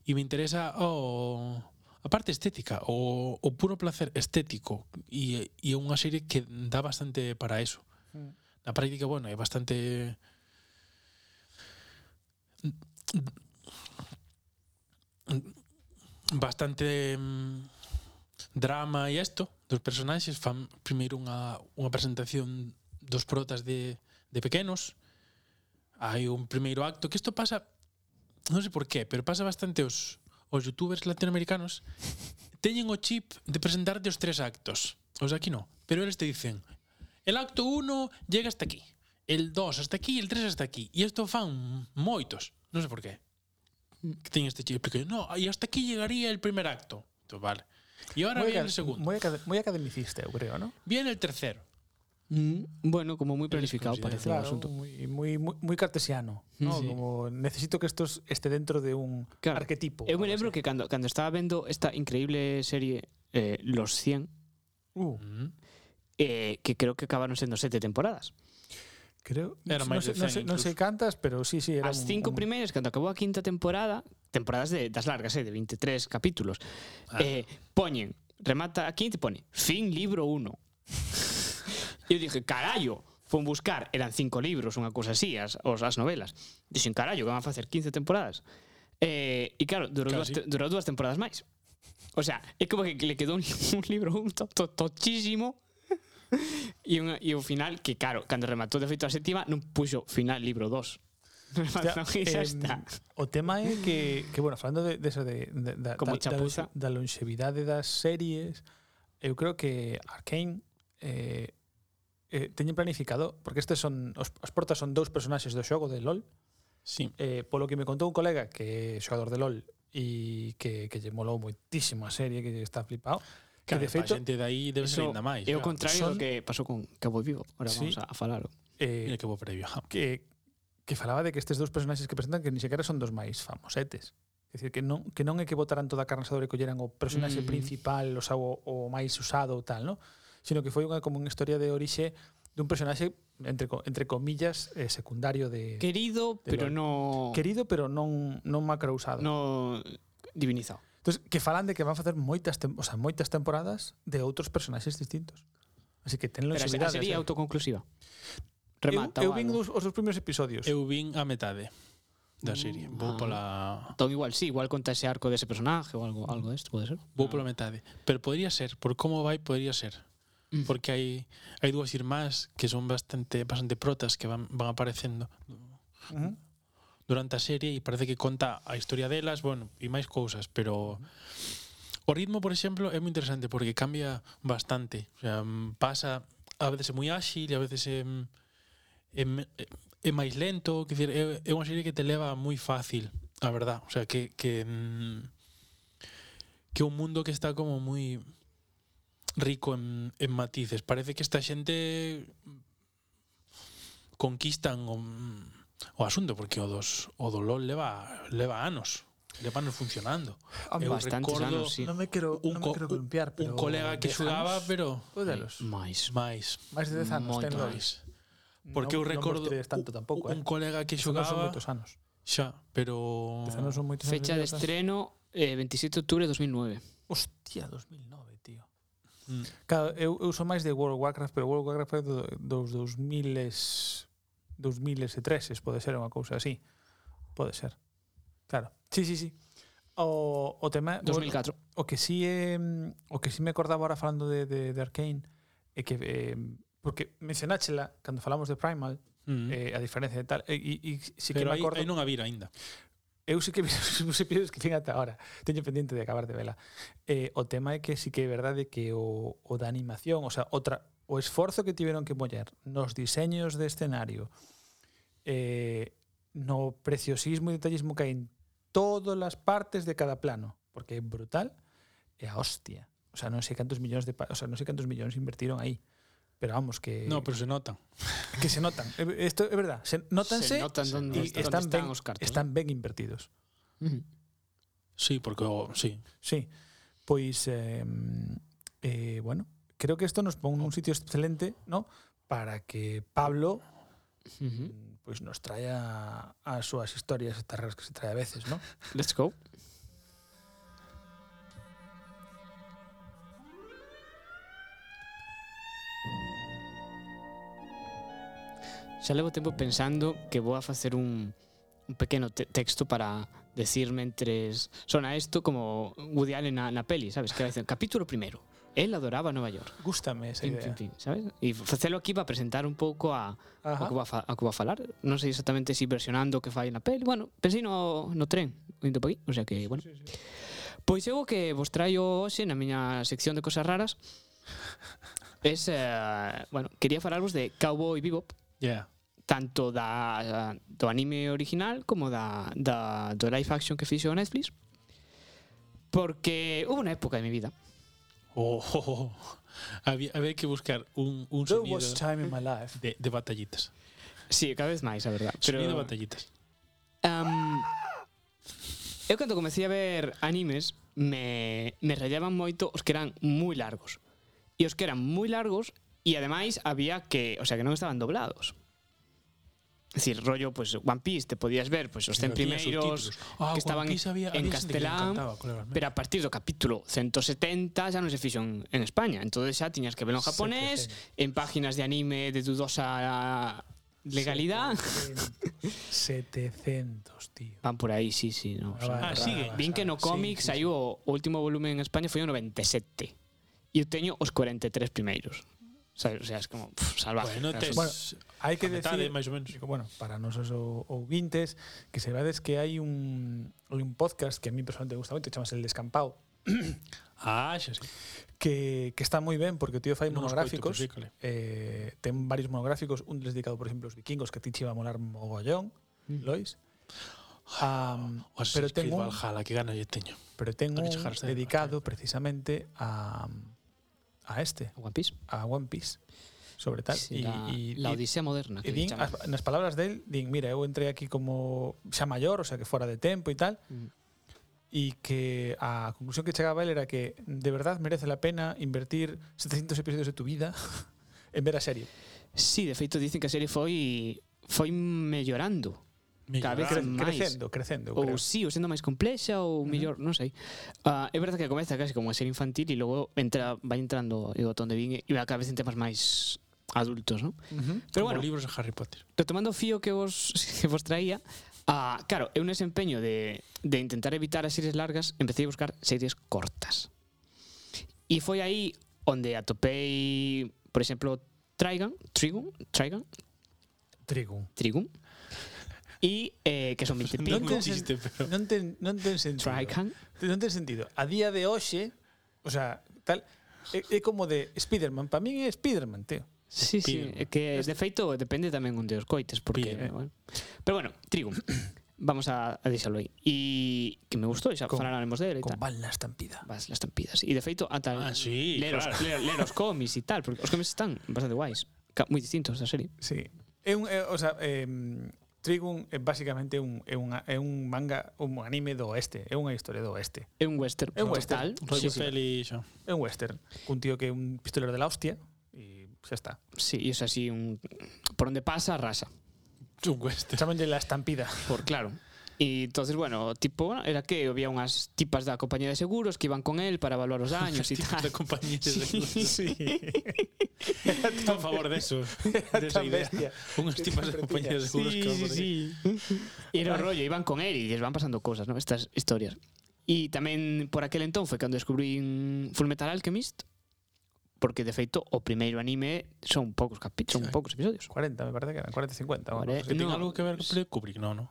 e me interesa o a parte estética, o, o puro placer estético e, e é unha serie que dá bastante para eso.
Mm.
Na práctica, bueno, é bastante bastante mm, drama e isto dos personaxes fan primeiro unha, unha presentación dos protas de, de pequenos hai un primeiro acto que isto pasa non sei por qué, pero pasa bastante os, os youtubers latinoamericanos teñen o chip de presentarte os tres actos. Os de aquí no. Pero eles te dicen, el acto 1 llega hasta aquí, el 2 hasta aquí, el 3 hasta aquí. E isto fan moitos. Non sei por qué. Que teñen este chip. Que, no, e hasta aquí llegaría el primer acto. Entón, vale. E ahora viene el segundo.
Moi, acad moi academicista, eu creo, ¿no?
Viene el tercero.
Mm, bueno, como muy planificado
considera-
parece el
Claro,
asunto.
muy, muy, muy muy cartesiano, ¿no?
Sí.
Como necesito que esto esté dentro de un
Claro.
arquetipo.
Eu me
algo
lembro
así.
que cando, cando estaba vendo esta increíble serie eh, Los 100,
Uh,
Mm.
eh, que creo que acabaron sendo sete temporadas.
creo,
Era
no,
máis
sé,
de
non,
cen
sei, non sei
incluso.
cantas, pero sí, sí, era un-
As cinco
un-
primeiras, cando acabou a quinta temporada, temporadas de, das largas, eh, de 23 capítulos,
Ah.
eh, poñen, remata aquí e te pone, fin libro 1. eu dije, carallo, fun buscar, eran cinco libros, unha cousa así, as, os, as novelas. Dixen, carallo, que van a facer 15 temporadas. Eh, e claro, durou, dúas,
Casi.
te- durou dúas temporadas máis. O sea, é como que le quedou un, un libro un to, to, tochísimo e, unha, e o final que claro, cando rematou de feito a séptima non puxo final libro 2
Hostia,
rematou e xa
em,
está
O tema é que, que bueno, falando de, de eso de, de, da,
Como
da,
chapuza.
da, da longevidade das series, eu creo que Arkane eh, eh, teñen planificado, porque estes son os, os portas son dous personaxes do xogo de LOL,
Sí.
eh, polo que me contou un colega que é xogador de LOL e que, que lle molou moitísimo a serie, que está flipado, que de
Claro,
feito
a xente de aí debe ser
Eso
ainda máis.
é o contrario
Son-
do que pasou con Cabo Vivo ahora
Sí.
vamos a, a falalo
eh,
Mira que bo previo. ja.
que que falaba de que estes dous personaxes que presentan que ni sequera son dos máis famosetes. É dicir, que non, que non é que botaran toda a carne asadora e colleran o personaxe mm.
Mhm.
principal o, sea, o, o máis usado ou tal, no? Sino que foi unha como unha historia de orixe dun personaxe, entre, co- entre comillas, eh, secundario de...
querido
de LOL.
pero no
Querido, pero non, non macro usado.
no divinizado
Entonces, que falan de que van facer moitas, tem o sea, moitas temporadas de outros personaxes distintos. Así que tenlo
pero
en
a, a sería autoconclusiva eh. remata
eu, eu
ou
vin os,
algo.
os dos primeiros episodios.
Eu vin a metade da serie.
Ah.
Vou pola
Entón igual sí, igual conta ese arco dese personaje ou algo algo desto, pode ser.
Vou pola metade. Pero podría ser, por como vai, podría ser.
Mm.
Porque hai hai dúas irmás que son bastante bastante protas que van, van aparecendo
Ujú.
durante a serie e parece que conta a historia delas, bueno, e máis cousas, pero o ritmo, por exemplo, é moi interesante porque cambia bastante. O sea, mm, pasa a veces é moi áxil e a veces é, mm, é, me- é, é máis lento, quer dizer, é, é unha serie que te leva moi fácil, a verdad. O sea, que que mm, que é un mundo que está como moi rico en, en matices. Parece que esta xente mm, conquistan o, o asunto porque o dos o do LOL leva leva anos. de panos funcionando.
Han
Eu
bastantes
recordo
anos, sí.
Non me quero,
un,
non me
co-
quero
un-
columpiar, pero...
un colega que xugaba, pero
Pódelos.
Mais.
máis,
Máis de 10 anos,
Moito
ten
máis.
lois.
máis. Porque eu recordo
Non vos tanto tampouco,
un,
eh.
un colega que
Son non son
xogaba
moitos anos.
xa, pero
10 anos son moitos anos.
Fecha de
Dios, eh.
estreno eh, 27 de octubre de 2009.
Hostia, 2009, tío.
Mm.
Claro, eu, eu son máis de World of Warcraft, pero World of Warcraft é do, dos 2000 es, 2003, pode ser unha cousa así. Pode ser. Claro. Sí, sí, sí. O, o tema...
2004.
O, o que sí é... mm, O que sí me acordaba ahora falando de, de, de Arkane é que... Eh, porque mencionáchela cando falamos de Primal,
mm.
eh, a diferencia de tal, e, e, e sí que
pero
me
aí,
acordo...
aí non a vir aínda.
Eu sí que vi os episodios que ten ata ahora. Teño pendiente de acabar de vela. Eh, o tema é que sí que é verdade que o, o da animación, o sea, outra, o esforzo que tiveron que poñer nos diseños de escenario, eh, no preciosismo e detallismo que hai en todas as partes de cada plano, porque é brutal, é a hostia. O sea, non sei cantos millóns de, pa- o sea, non sei cantos millóns invertiron aí. Pero vamos, que,
No, pero se nota.
que se notan. Eh, Esto é verdad. Se notanse
Se notan donde,
y
donde
están,
están,
ben,
os cartos.
están ben invertidos.
Ujú.
Sí, porque o, sí.
Sí, pois eh, eh, bueno, creo que esto nos pon un sitio excelente, ¿no? Para que Pablo
Ujú.
mm, pois nos traia as súas historias estas raras que se trae a veces, ¿no?
Let's go. Xa levo tempo pensando que vou a facer un, un pequeno te texto para decirme mentres sona isto como Woody Allen na, na peli, sabes? Que vai dicir, capítulo primeiro. Él adoraba Nova York.
Gústame esa
Pim, pim,
idea.
pim, sabes? E facelo aquí para presentar un pouco a,
Ajá.
ao que, va a, fa- ao que va a falar. Non sei exactamente se versionando o que fai na peli. Bueno, pensei no, no tren, indo pa aquí. O sea que, bueno. Pois eu o que vos traio hoxe na miña sección de cosas raras es, eh, bueno, quería falarvos de Cowboy Bebop,
Yeah.
tanto da, do anime original como da, da, do live action que fixo Netflix. Porque hubo unha época de mi vida
Oh, oh, oh. Había, había que buscar un, un
There
sonido
was time in my life.
de, de batallitas.
Sí, cada vez máis, a verdad. Pero...
Sonido de batallitas.
Um, eu cando comecei a ver animes me, me rayaban moito os que eran moi largos. E os que eran moi largos e ademais había que, o sea, que non estaban doblados. É dicir, rollo, pues, One Piece, te podías ver pues, os 100
Pero tiña
primeiros,
subtítulos. Ah,
que
One
estaban
Piece había-
en
había xente que le
castelán,
encantaba, colegas meus.
pero a partir do capítulo 170 xa non se fixo en, en España. Entonces xa tiñas que verlo en japonés, en páginas de anime de dudosa legalidad.
700, tío.
Van por aí, sí, sí. No, o sea,
Ah, sigue.
Vin que no cómic
Sí, sí,
saiu o último volumen en España foi o 97. E eu teño os 43 primeiros. Sabes, o sea, es como pff, salvaje.
Bueno, tes,
Bueno, hai que
a metade,
decir
máis ou menos.
Digo, bueno, para nosos ou- ouvintes, que saibades que hai un, hai un podcast que a mí personalmente me gusta moito, chamas El Descampado,
Ah, xa sí.
que, que está moi ben porque o tío fai
Non os coito,
monográficos
pero sí, cole.
eh, ten varios monográficos un deles dedicado por exemplo aos vikingos que a ti che va a molar mogollón Lois um, pero
O Assassin's
ten
Creed
un,
Valhalla, que ganas lle teño.
pero ten un
Hay que chegarse de
dedicado precisamente a a este
One Piece.
a One Piece sobre tal y,
Sí, la,
y,
la
y- ah,
Odisea moderna.
e
Que
din,
din,
as, nas palabras del, din, mira, eu entrei aquí como xa maior, o sea, que fora de tempo e tal,
Mm.
e que a conclusión que chegaba él era que de verdad merece la pena invertir 700 episodios de tu vida en ver a serie.
sí, de feito dicen que a serie foi foi mellorando. Cada vez
Cre
máis.
crecendo, crecendo, eu creo.
Ou si, sí, ou sendo máis complexa ou mellor, non sei. Ah, é verdade que comeza casi como a ser infantil e logo entra vai entrando e o botón de Bing e cada vez en temas máis adultos, non?
Ujú.
Pero
Como
bueno,
libros de Harry Potter.
retomando o fío que vos, que vos traía, ah, claro, é un desempeño de, de intentar evitar as series largas, empecé a buscar series cortas. E foi aí onde atopei, por exemplo, Trigun, Trigun, Trigun,
Trigo.
Trigun, e eh, que son 20
Non
Non
pico,
ten,
un chiste,
sen-
pero-
non ten, non ten sentido.
Trigun,
Non ten sentido. A día de hoxe, o sea, tal, é, é como de Spiderman, para min é Spiderman, tío.
Sí, sí, é
Spiderman.
que de feito depende tamén onde os coites, porque eh,
Spiderman.
bueno. Pero bueno, Trigun. Vamos a, a deixalo aí. E que me gustou, xa
Con-
falaremos dele e
Con
tal.
van la estampida.
Vas las tampidas. E de feito, ata
Ah, sí,
ler,
claro.
os, ler, ler os cómics e tal, porque os cómics están bastante guais, ca- moi distintos da serie.
Sí. É un, é, o sea, eh, Trigun é basicamente un, é, unha, é un manga, un anime do oeste, é unha historia do oeste.
É un western.
É un
total.
western.
Rollo
Sí, sí.
Feli, xa.
É un western, cun tío que é un pistolero de la hostia e xa está.
Sí, y es así un... Por donde pasa, rasa.
Un western.
Chámanlle la estampida.
Por claro. E entonces, bueno, o tipo, bueno, era que había unhas tipas da compañía de seguros que iban con él para evaluar os daños e
Tipos
tal.
de compañía de
Sí,
seguros.
sí.
Estou a favor deso. De esa
Tan
idea.
bestia.
Unhas tipas de compañía de seguros que
sí, sí. E era o rollo, iban con él e les van pasando cosas, ¿no? estas historias. E tamén por aquel entón foi cando descubrín Fullmetal Alchemist, porque de feito o primeiro anime son poucos capítulos, son
Sí.
poucos episodios.
40, me parece que eran, 40, 50.
Vale.
Vale.
¿eh? Que ten
No.
algo que ver con Freddy Kubrick, no, no.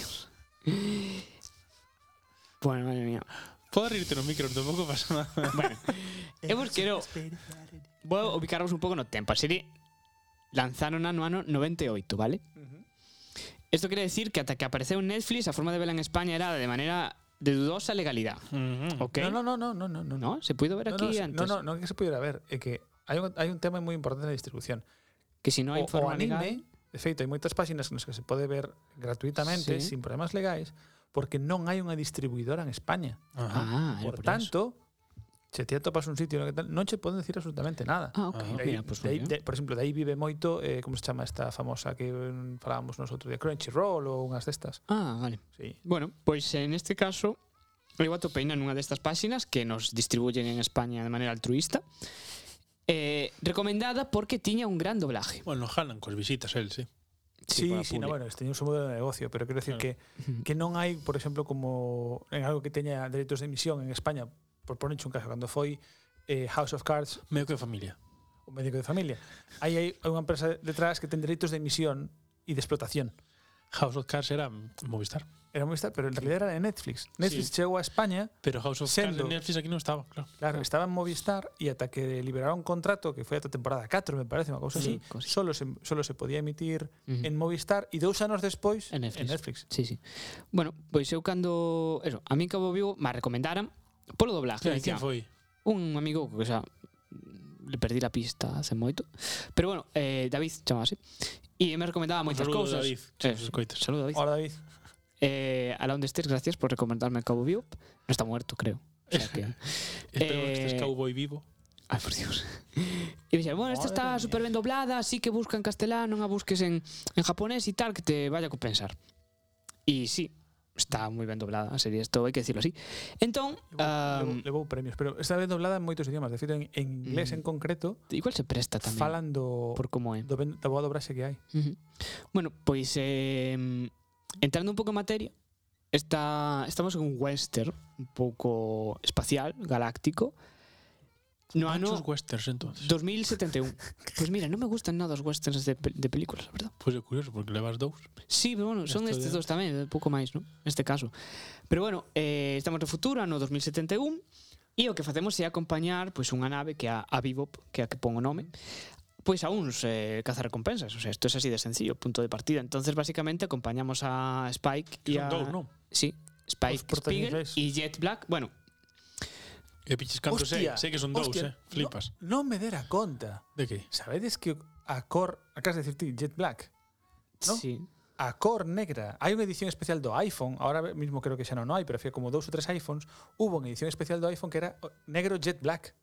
Bueno, madre mía.
Podo rirte no micro, tampouco pasa nada.
Bueno, hemos quero... Vou a ubicarvos un pouco no tempo. A serie lanzaron no ano 98, vale?
Ujú.
Esto quiere decir que hasta que apareceu en Netflix, a forma de verla en España era de maneira de dudosa legalidad. ¿Ok?
No, no, no, no, no, no.
¿No? ¿Se pudo ver
No,
aquí
no, sí,
antes?
no, no, no que se pudiera ver, é que hai un, hai un tema moi importante na distribución.
Que si no hay
o, o
forma legal...
anime, de feito, hai moitas páxinas nas que se pode ver gratuitamente,
Sí.
sin problemas legais, porque non hai unha distribuidora en España.
Ah, era
Ajá.
Por,
por eso.
tanto, se te atopas un sitio no que tal, non che poden decir absolutamente nada.
Ah, ok.
Ajá.
De aí-
Mira, pues,
de aí-
mira.
de- por exemplo, de aí vive moito, eh, como se chama esta famosa que mm, falábamos nosotros de Crunchyroll ou unhas destas.
Ah, vale.
Sí.
Bueno, pois en este caso eu atopeina nunha destas páxinas que nos distribuyen en España de maneira altruista. Eh, recomendada porque tiña un gran doblaje.
Bueno, jalan cos visitas el, sí.
Sí,
para Mm.
sí, no,
público.
bueno, este é un seu modelo de negocio, pero quero decir
Claro.
que que non hai, por exemplo, como en algo que teña dereitos de emisión en España, por ponerche un caso, cando foi eh, House of Cards,
Medio que familia.
o médico de familia, aí hai unha empresa detrás que ten dereitos de emisión e de explotación.
House of Cards era Movistar.
Era moi pero en realidad era de Netflix. Netflix chegou a España,
Pero House of
Sendo.
Cards en Netflix aquí non estaba, claro.
claro, estaba en Movistar e ata que liberaron un contrato que foi ata temporada 4, me parece, unha cousa así,
Sí, cousa.
solo se, solo se podía emitir
Ujú.
en Movistar e dous anos despois
En Netflix.
en Netflix.
Sí, sí. Bueno, pois eu cando, eso, a min Cabo Vivo me recomendaran polo doblaje.
Claro,
Dicía,
quen foi?
un amigo que, o sea, le perdí la pista hace moito. Pero bueno, eh, David chamase. E me recomendaba moitas
saludo,
cousas.
David, se
Eh,
nos escoitas.
saludo, David.
Hola, David.
Eh, a la onde estés, gracias por recomendarme Cabo Vivo. No está muerto, creo. O sea que...
Espero que
Eh,
estés cowboy vivo.
Ay, por Dios. E dixen, bueno, esta
Madre
está
mía.
super ben doblada, así que busca en castelán, non a busques en, en japonés e tal, que te vaya a compensar. E sí, está moi ben doblada a serie, isto hai que decirlo así. Entón,
Levou,
um,
levou premios, pero está vez doblada en moitos idiomas, de feito en, en inglés en
Mm.
concreto
igual se presta tamén
falan do,
por como é.
do ben, da boa dobraxe que hai.
Ujú. Bueno, pois eh, entrando un pouco en materia, está, estamos en un western un pouco espacial, galáctico. No ano
Muchos westerns, entonces.
2071. Pois Pues mira, non me gustan nada os westerns de, pel- de películas, a verdad.
Pois é curioso, porque levas dous.
Sí, pero bueno, son
Esto
estes
ya-
dos tamén, eh, pouco máis, non? Neste caso. Pero bueno, eh, estamos no futuro, ano 2071, e o que facemos é acompañar pois unha nave que é a, a Bebop, que é a que pon o nome, pois a uns eh, cazarrecompensas, o sea, isto é así de sencillo, punto de partida. Entonces, basicamente, acompañamos a Spike e
Que son
a...
dous, non?
Sí, Spike
Os
Spiegel
protagonistas.
e Jet Black. Bueno,
E piches cantos sei,
Hostia,
sei que son dous,
hostia,
eh? Flipas.
Non me dera conta.
De que?
Sabedes que a cor, acabas de decir ti, Jet Black, ¿No?
sí.
a cor negra, hai unha edición especial do iPhone, ahora mismo creo que xa non hai, pero foi como dous ou tres iPhones, hubo unha edición especial do iPhone que era o- negro Jet Black.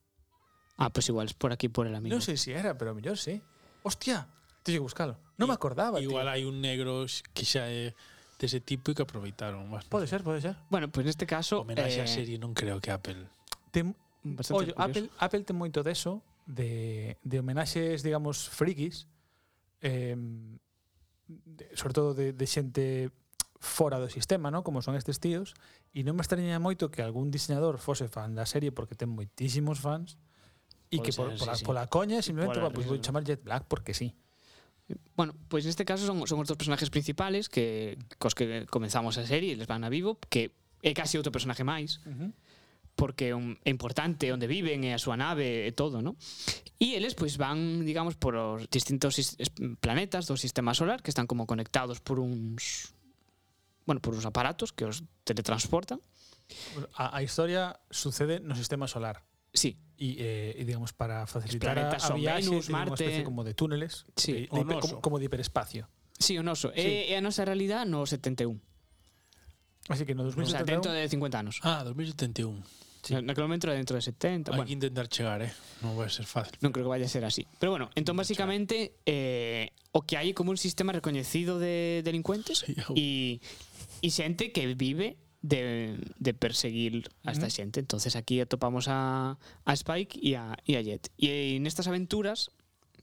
Ah, pois igual, por aquí, por el amigo.
Non sei se era, pero mellor sí. Hostia, teño que buscalo. Non me acordaba, tío.
Igual hai un negro x- que xa é dese tipo e que aproveitaron. Mas,
Pode ser, pode ser.
Bueno, pois neste caso...
Homenaxe eh, a
eh,
ah, serie non creo que Apple.
Tem,
Bastante
Ollo,
curioso.
Apple, Apple ten moito deso de, de homenaxes, digamos, frikis, eh, de, sobre todo de, de xente fora do sistema, ¿no? como son estes tíos, e non me extraña moito que algún diseñador fose fan da serie porque ten moitísimos fans e
Pode
que por,
ser,
pola,
Pois sí, sí.
pola coña simplemente va,
pola
pues, vou
risa,
chamar Jet Black porque sí.
Bueno, pois neste caso son, son os dos personaxes principales que cos que comenzamos a serie, les van a vivo, que é casi outro personaje máis,
Ujú.
porque é un, é importante onde viven, é a súa nave e todo, ¿no? E eles pois van, digamos, por os distintos sis- es- planetas do sistema solar que están como conectados por uns bueno, por uns aparatos que os teletransportan.
A, a historia sucede no sistema solar.
Sí,
Y, eh, e, digamos, para facilitar a,
planetas
a
son
viaxe, ten
Venus,
unha
Marte.
especie como de túneles, de-
Sí,
de
o
hiper-
noso.
como, como de hiperespacio.
sí, o noso. É, é a nosa realidade no 71.
Así que no
O sea,
2071
dentro de 50 anos.
Ah, 2071.
Sí.
Na- Naquele momento era dentro de 70.
Hai
Bueno,
que intentar chegar, eh? Non vai ser fácil.
non creo que vaya a ser así. Pero bueno, entón basicamente eh, o que hai é como un sistema recoñecido de delincuentes
Sí, eu-
e e xente que vive de, de perseguir a esta xente. Entonces aquí atopamos a, a Spike e a, e a Jet. E nestas aventuras,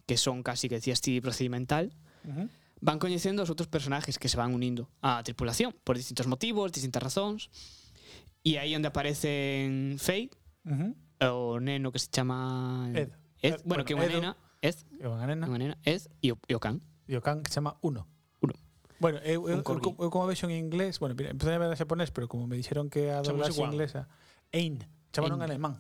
que son casi que decías ti procedimental,
Ujú.
van coñecendo os outros personajes que se van unindo á tripulación por distintos motivos, distintas razóns. E aí onde aparecen Faye,
Ujú.
eh, o neno que se chama
Ed.
Ed,
Ed,
bueno,
bueno,
que é unha
Edu.
nena, Ed,
E unha nena.
é unha nena, Ed e o, e o can.
E o can que se chama Uno.
Uno.
Bueno, eu, eu,
Un corgi.
eu, como- eu como vexo en inglés, bueno, mira, empecé a ver en japonés, pero como me dixeron que a doblaxe
Chamase Juan.
inglesa, Ein, chamaron en
Ein.
alemán.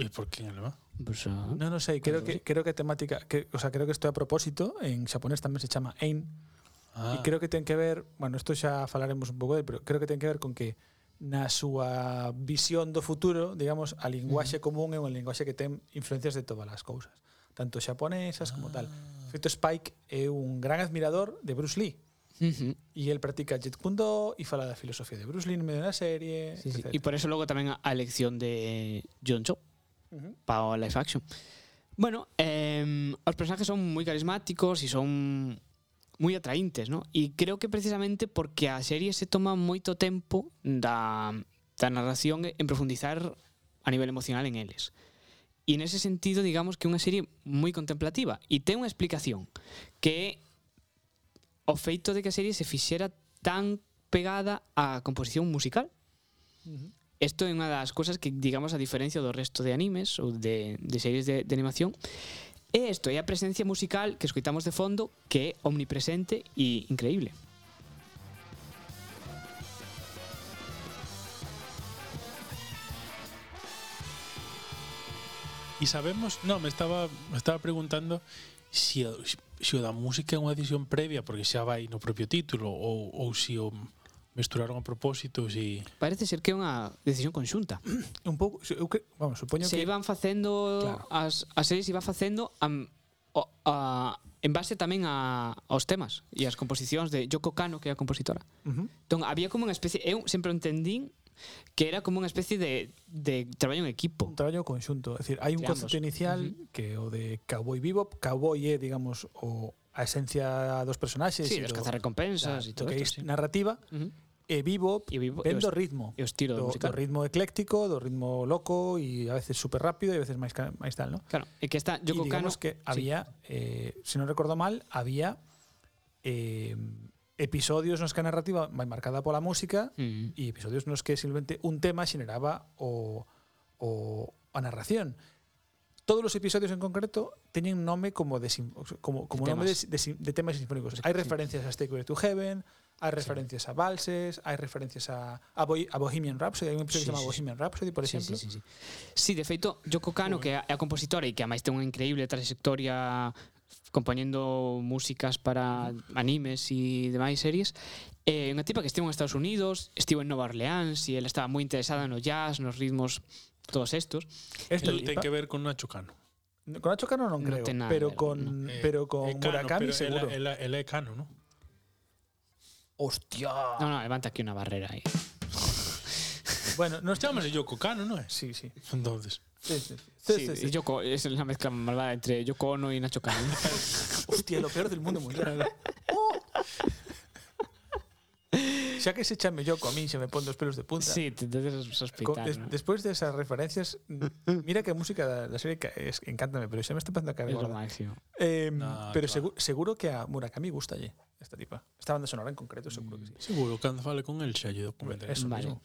E por que en alemán?
Pues, ah,
No, no sei, creo
Claro, sí.
que creo que temática, que, o sea, creo que isto é a propósito, en xaponés tamén se chama Ein, E
Ah,
creo que ten que ver, bueno, isto xa falaremos un pouco del, pero creo que ten que ver con que na súa visión do futuro, digamos, a linguaxe común é unha linguaxe que ten influencias de todas as cousas, tanto xaponesas como tal. De Feito Spike é un gran admirador de Bruce Lee
ujú,
e el practica Jeet Kune Do e fala da filosofía de Bruce Lee no medio da serie,
sí, sí.
etc.
E por eso logo tamén a, a elección de eh, John Cho
Ujú.
para o live action. Bueno, eh, os personajes son moi carismáticos e son moi atraíntes, ¿no? E creo que precisamente porque a serie se toma moito tempo da, da narración en profundizar a nivel emocional en eles. E en ese sentido, digamos que é unha serie moi contemplativa e ten unha explicación que é o feito de que a serie se fixera tan pegada á composición musical
Ujú.
Esto é unha das cousas que, digamos, a diferencia do resto de animes ou de, de series de, de animación, é isto, é a presencia musical que escoitamos de fondo que é omnipresente e increíble.
E sabemos, no, me estaba me estaba preguntando si o- si o da música é unha decisión previa porque xa vai no propio título ou ou si o mesturaron a propósito, si
Parece ser que é unha decisión conxunta.
Un pouco, eu cre- vamos, supoño
Se
que
iban facendo
Claro.
as, as series iba facendo am, o, a, en base tamén a, aos temas e as composicións de Yoko Kano, que é a compositora.
Ujú.
Entón, había como unha especie, eu sempre o entendín que era como unha especie de, de traballo en equipo.
un traballo conxunto. É dicir, hai un
De ambos.
concepto inicial que é o de Cowboy Bebop. Cowboy é, digamos, o a esencia dos personaxes e
Sí, dos
do- da-
cazarrecompensas e
do
todo
que é
isto, sí.
narrativa
Ujú.
e Bebop
E Bebop-
ven
e os-
do ritmo.
e os tiro
do,
do musical.
do ritmo ecléctico, do ritmo loco e a veces super rápido e a veces máis ca- máis tal, ¿no?
Claro, é que está
y
Yoko Kano,
digamos que había, eh, si no recuerdo mal, había eh, episodios nos que a narrativa vai marcada pola música
Mm.
e episodios nos que simplemente un tema xeneraba o, o a narración. Todos os episodios en concreto teñen nome como de sim- como como
De
nome de,
temas.
de, sim- de temas sinfónicos. Hai referencias a Stairway to Heaven, hai referencias a valses, hai referencias a a, Bohi- a Bohemian Rhapsody, hai un episodio que se
Sí,
chama
sí, sí.
Bohemian Rhapsody, por
Sí,
exemplo.
sí, sí, sí. sí, de feito, Yoko Kano, que é a compositora e que ademais ten unha increíble trayectoria compoñendo músicas para animes e demais series, é unha tipa que estivo en Estados Unidos, estivo en Nova Orleans e ela estaba moi interesada no jazz, nos ritmos todos estos.
Esta
Isto ten
tipa-
que ver con Nacho Cano.
Con Nacho Cano non
No
creo,
ten nada
pero
de-
con
Eh,
Mm, pero con
é Cano,
Murakami
pero
seguro.
Ela, ela, ela é Cano, ¿no?
Hostia.
Non, non, levanta aquí unha barrera aí.
Bueno, no estamos
Chámase Yoko Cano, non é?
Sí, sí.
Entonces,
Sí, sí, sí. Sí,
Sí,
sí, sí.
Yoko, é a mezcla malvada entre Yoko Ono e Nacho Cano.
Hostia, lo peor del mundo mundial.
Oh.
Xa que se chame Yoko, a min se me pon dos pelos de punta.
sí, te debes
Co-
sospeitar.
des-
¿no?
Despois desas referencias, mm, mira que a música da, da serie ca- es, encántame, pero xa me está pasando a cara.
É lo
gorda.
máximo.
Eh,
No,
pero
claro.
seguro, seguro que a Murakami gustalle esta tipa. Esta banda sonora en concreto, seguro que sí.
seguro cando fale con el xa lle dou comentar.
Eso
Vale.
mismo.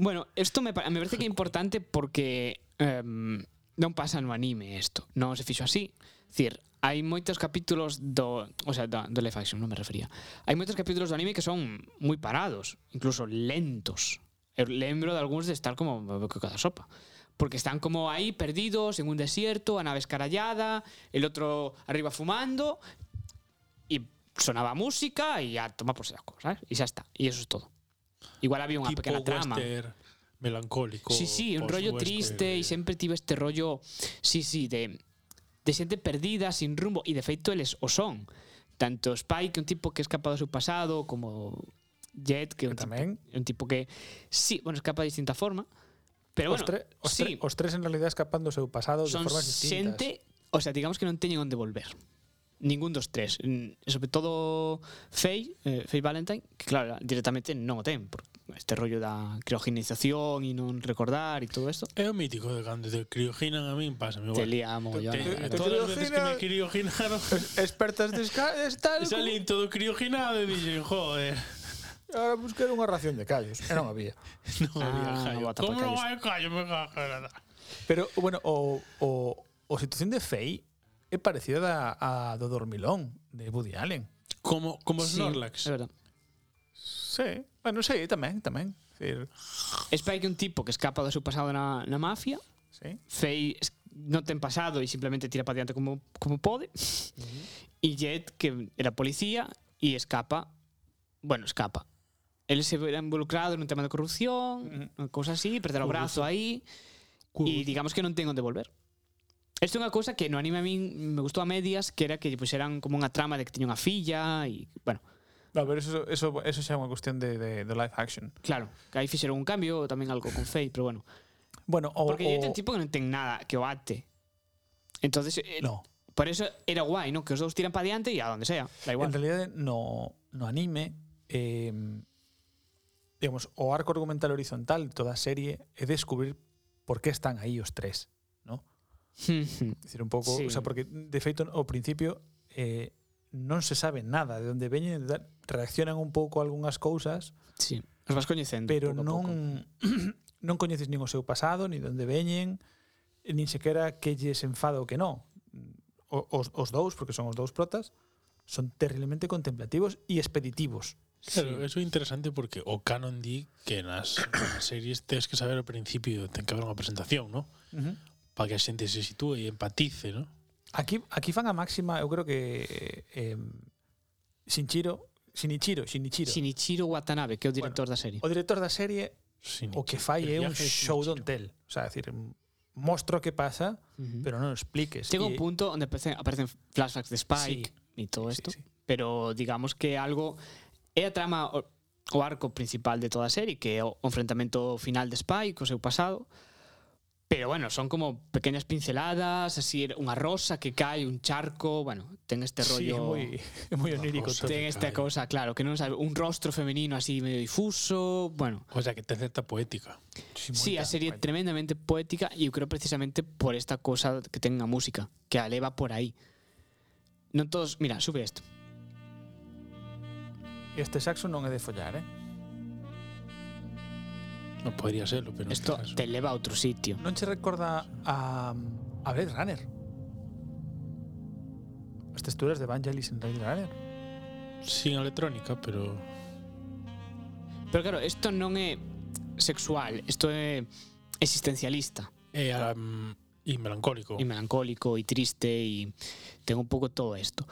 Bueno, esto me, pa- me parece que é importante porque em, non pasa no anime isto. Non se fixo así. Cir, hai moitos capítulos do, o sea, da, do live action, non me refería. Hai moitos capítulos do anime que son moi parados, incluso lentos. Eu lembro de algúns de estar como que cada sopa. Porque están como aí perdidos en un desierto, a nave escarallada, el otro arriba fumando y sonaba música y a toma por saco, ¿sabes? Y ya está. Y eso es todo. Igual había una
tipo
pequeña trama.
western melancólico.
Sí, sí, un rollo
post-western.
triste e sempre tivo este rollo, sí, sí, de de xente perdida, sin rumbo e de feito eles o son. Tanto Spike, un tipo que escapa do seu pasado, como Jet, que é un,
Que tamén.
Tipo, un tipo que sí, bueno, escapa de distinta forma, pero
Os,
bueno,
tre- os, tre-
sí,
os tres en realidad escapando do seu pasado de
son
formas distintas.
xente, o sea, digamos que non teñen onde volver. Ningún dos tres, Mm, sobre todo Faye, eh, Faye Valentine, que claro, directamente non o ten, por este rollo da criogenización e non recordar e todo isto.
É o mítico de cando te crioginan a min, pásame
Te
igual.
lía mogollón.
Te-
Te-
eh.
te-
todas as veces que me
crioginan-
crioginaron,
Expertas de esca- de estar...
salín todo crioginado e dixen, joder,
Ahora busquei unha ración de callos. E non había.
non había
Ah,
callo.
bota pa
Como non
callos.
hai callo, me cagarada.
Pero, bueno, o, o, o situación de Fey é parecida a, a do Dormilón de Woody Allen.
Como, como
Sí,
Snorlax.
É verdad.
Sí, bueno, sí, tamén, tamén. Sí,
Spike é un tipo que escapa do seu pasado na, na mafia,
sí.
Faye es- non ten pasado e simplemente tira para diante como, como pode, e Jet, que era policía, e escapa, bueno, escapa. Ele se verá involucrado nun tema de corrupción, unha cousa así, perder o brazo aí, e digamos que non ten onde volver. Isto é unha cousa que no anime a min me gustou a medias, que era que lle puxeran como unha trama de que tiña unha filla, e, bueno,
No, pero eso, eso, eso xa é unha cuestión de, de, de live action.
claro, que aí fixeron un cambio, tamén algo con Faye, pero bueno,
Bueno, o...
Porque
o,
Jet é un tipo que non ten nada que o ate. Entonces, eh,
No,
por eso era guai, ¿no? Que os dous tiran para diante e a donde sea, da
en
igual.
realidad no, no anime eh, digamos, o arco argumental horizontal de toda a serie é descubrir por que están aí os tres, ¿no? Es decir, un pouco,
Sí.
o sea, porque de feito ao principio eh, non se sabe nada de onde veñen, da- reaccionan un pouco a algunhas cousas,
sí, os vas coñecendo
pero
Mm, pouco a pouco.
non non coñeces nin o seu pasado, nin de onde veñen, e nin sequera que lles enfado que non. O- Os, os dous, porque son os dous protas, son terriblemente contemplativos e expeditivos.
Claro, eso é interesante porque o canon di que nas nas series tes que saber ao principio, ten que haber unha presentación, ¿no? Para que a xente se sitúe e empatice, ¿no?
Aquí aquí fan a máxima, eu creo que eh, Sinchiro, Shinichiro, Shinichiro,
Shinichiro Watanabe, que é o director da serie.
o director da serie,
Sin
o que fai é
El
un
viaje de
show
Shinichiro.
don't tell. O sea, decir, mostro que pasa, pero non o expliques.
Chega
E-
un punto onde aparecen, aparecen flashbacks de Spike e todo
sí,
isto,
sí.
pero digamos que é algo é a trama o, o arco principal de toda a serie, que é o enfrentamento final de Spike co seu pasado. Pero bueno, son como pequeñas pinceladas, así er, unha rosa que cae, un charco, bueno, ten este
Sí, é
rollo
moi, é moi onírico.
Rosa.
todo.
ten esta
cae.
cousa, claro, que non sabe, un rostro femenino así medio difuso, bueno,
O sea, que ten certa poética.
Sí,
moita,
a serie é
moita.
tremendamente poética e eu creo precisamente por esta cosa que ten a música, que a leva por aí. Non todos, mira, sube isto.
Este saxo non é de follar, eh?
Non podría serlo, pero
Isto
en este caso.
te leva a outro sitio.
Non che recorda a, a Blade Runner? As texturas de Vangelis en Blade Runner?
sin electrónica, pero
Pero claro, isto non é sexual, isto é existencialista
é um, e melancólico.
e melancólico e triste e ten un pouco todo isto.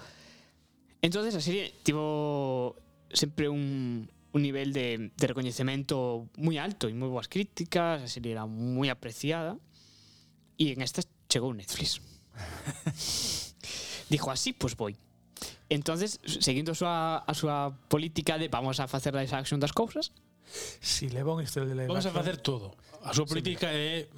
Entonces a serie tivo sempre un, un nivel de, de recoñecemento moi alto e moi boas críticas, a serie era moi apreciada e en estas chegou Netflix. Dixo así, pois pues, voi. Entonces, seguindo a súa, a súa política de vamos a facer live action das cousas,
Si leva un historial de live
Vamos a
action-
facer todo. A súa política é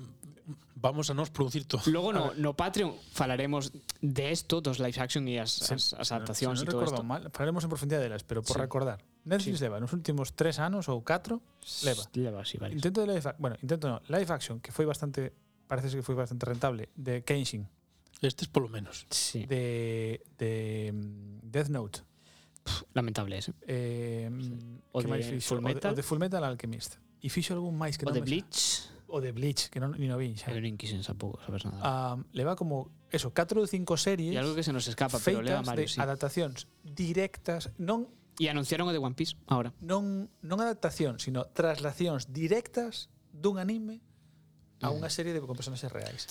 vamos a nos producir todo.
logo no, no Patreon falaremos de esto, dos live action e as,
Se-
as, as
se non-
adaptacións
se
e
non
todo
recordo
isto.
mal, falaremos en profundidade delas, pero por
Sí.
recordar. Netflix leva nos últimos tres anos ou catro, leva.
Leva, sí, vale.
Intento de live, ac- bueno, intento no, live action que foi bastante parece ser que foi bastante rentable de Kenshin,
Este es polo menos.
Sí,
de de mm, Death Note.
lamentable ese.
Eh,
O
que
de
máis fixo?
Fullmetal.
O de, o de Full Metal Alchemist. E fixo algún máis que non
O de
me
Bleach.
sa- o de Bleach, que non, ni no vin xa.
Pero nin quixen tampouco sabes nada.
Ah, leva como eso, 4 ou 5 series
e algo que se nos escapa,
feitas
pero leva
de
Mario, sí.
adaptacións directas, non
E anunciaron o de One Piece
Ah,
ahora.
non non adaptación, sino traslacións directas dun anime a
Mm.
unha serie de con personaxes reais.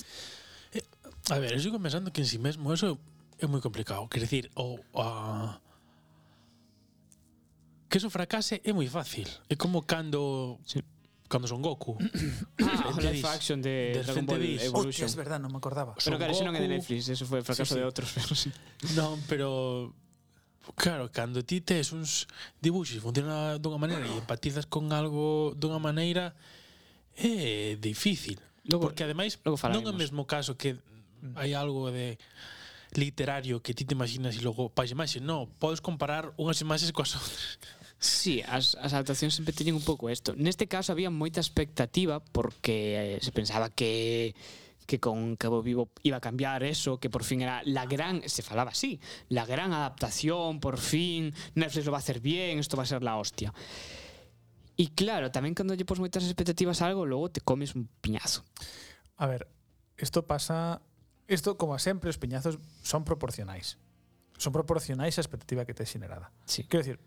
A ver, eu sigo pensando que en sí mesmo eso é moi complicado. Quer dicir, o... a que eso fracase é moi fácil. É como cando...
Sí.
Cando son Goku.
Ah, o live
Repente dis,
action de,
de
Dragon Ball
repente dis,
Hostia,
Evolution.
es verdad, non me acordaba.
Pero
Son
claro, ese non é de
Goku.
Netflix, eso foi o fracaso
Sí, sí.
de outros, pero sí.
Non, pero claro, cando ti tes uns dibuxos que funcionan dunha maneira e empatizas con algo dunha maneira é difícil.
Logo-
Porque ademais
logo
non é o
falaremos. Mm.
mesmo caso que hai algo de literario que ti te imaginas e logo pa imaxe, non, podes comparar unhas imaxes coas outras.
Sí, as, as adaptacións sempre teñen un pouco isto. Neste caso había moita expectativa porque eh, se pensaba que que con Cabo Vivo iba a cambiar eso, que por fin era la gran, se falaba así, la gran adaptación, por fin, Netflix lo va a hacer bien, esto va a ser la hostia. Y claro, tamén cando lle pos moitas expectativas a algo, logo te comes un piñazo.
A ver, isto pasa isto como sempre os piñazos son proporcionais. Son proporcionais á expectativa que te xenerada.
Sí.
Quero dicir,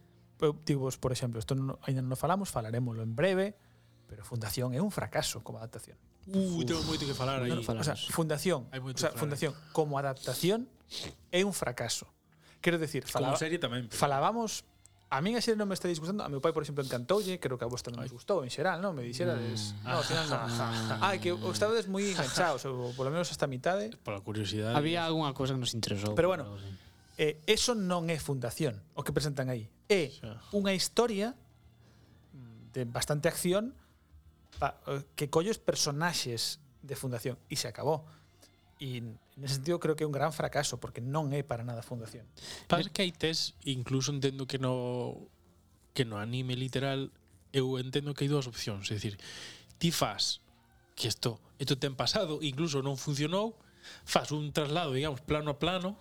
eu digo, por exemplo, isto non, ainda non o falamos, falarémoslo en breve, pero Fundación é un fracaso como adaptación.
Uh, tengo moito que falar aí.
non fala-
O sea,
Falamos.
Fundación, o
Hai moito
sea,
que falar.
Fundación como adaptación é un fracaso. Quero dicir,
Como
falaba-
serie tamén. pero-
falábamos A min a serie non me está disgustando A meu pai, por exemplo, encantoulle Creo que a vos tamén nos gustou en xeral, non? Me dixerades No, ao final non Ah, que o estabades moi enganchados Ou polo menos hasta a mitade
Pola curiosidade.
Había algunha cousa que nos interesou.
Pero bueno,
algo así.
eh, Eso non é fundación O que presentan aí É
Xa.
unha historia mm, De bastante acción pa, eh, Que collos personaxes De fundación E se acabou E nese sentido creo que é un gran fracaso Porque non é para nada fundación
Pasa que hai tes, incluso entendo que no que no anime literal, eu entendo que hai dúas opcións, é dicir, ti fas que isto, isto ten pasado, incluso non funcionou, fas un traslado, digamos, plano a plano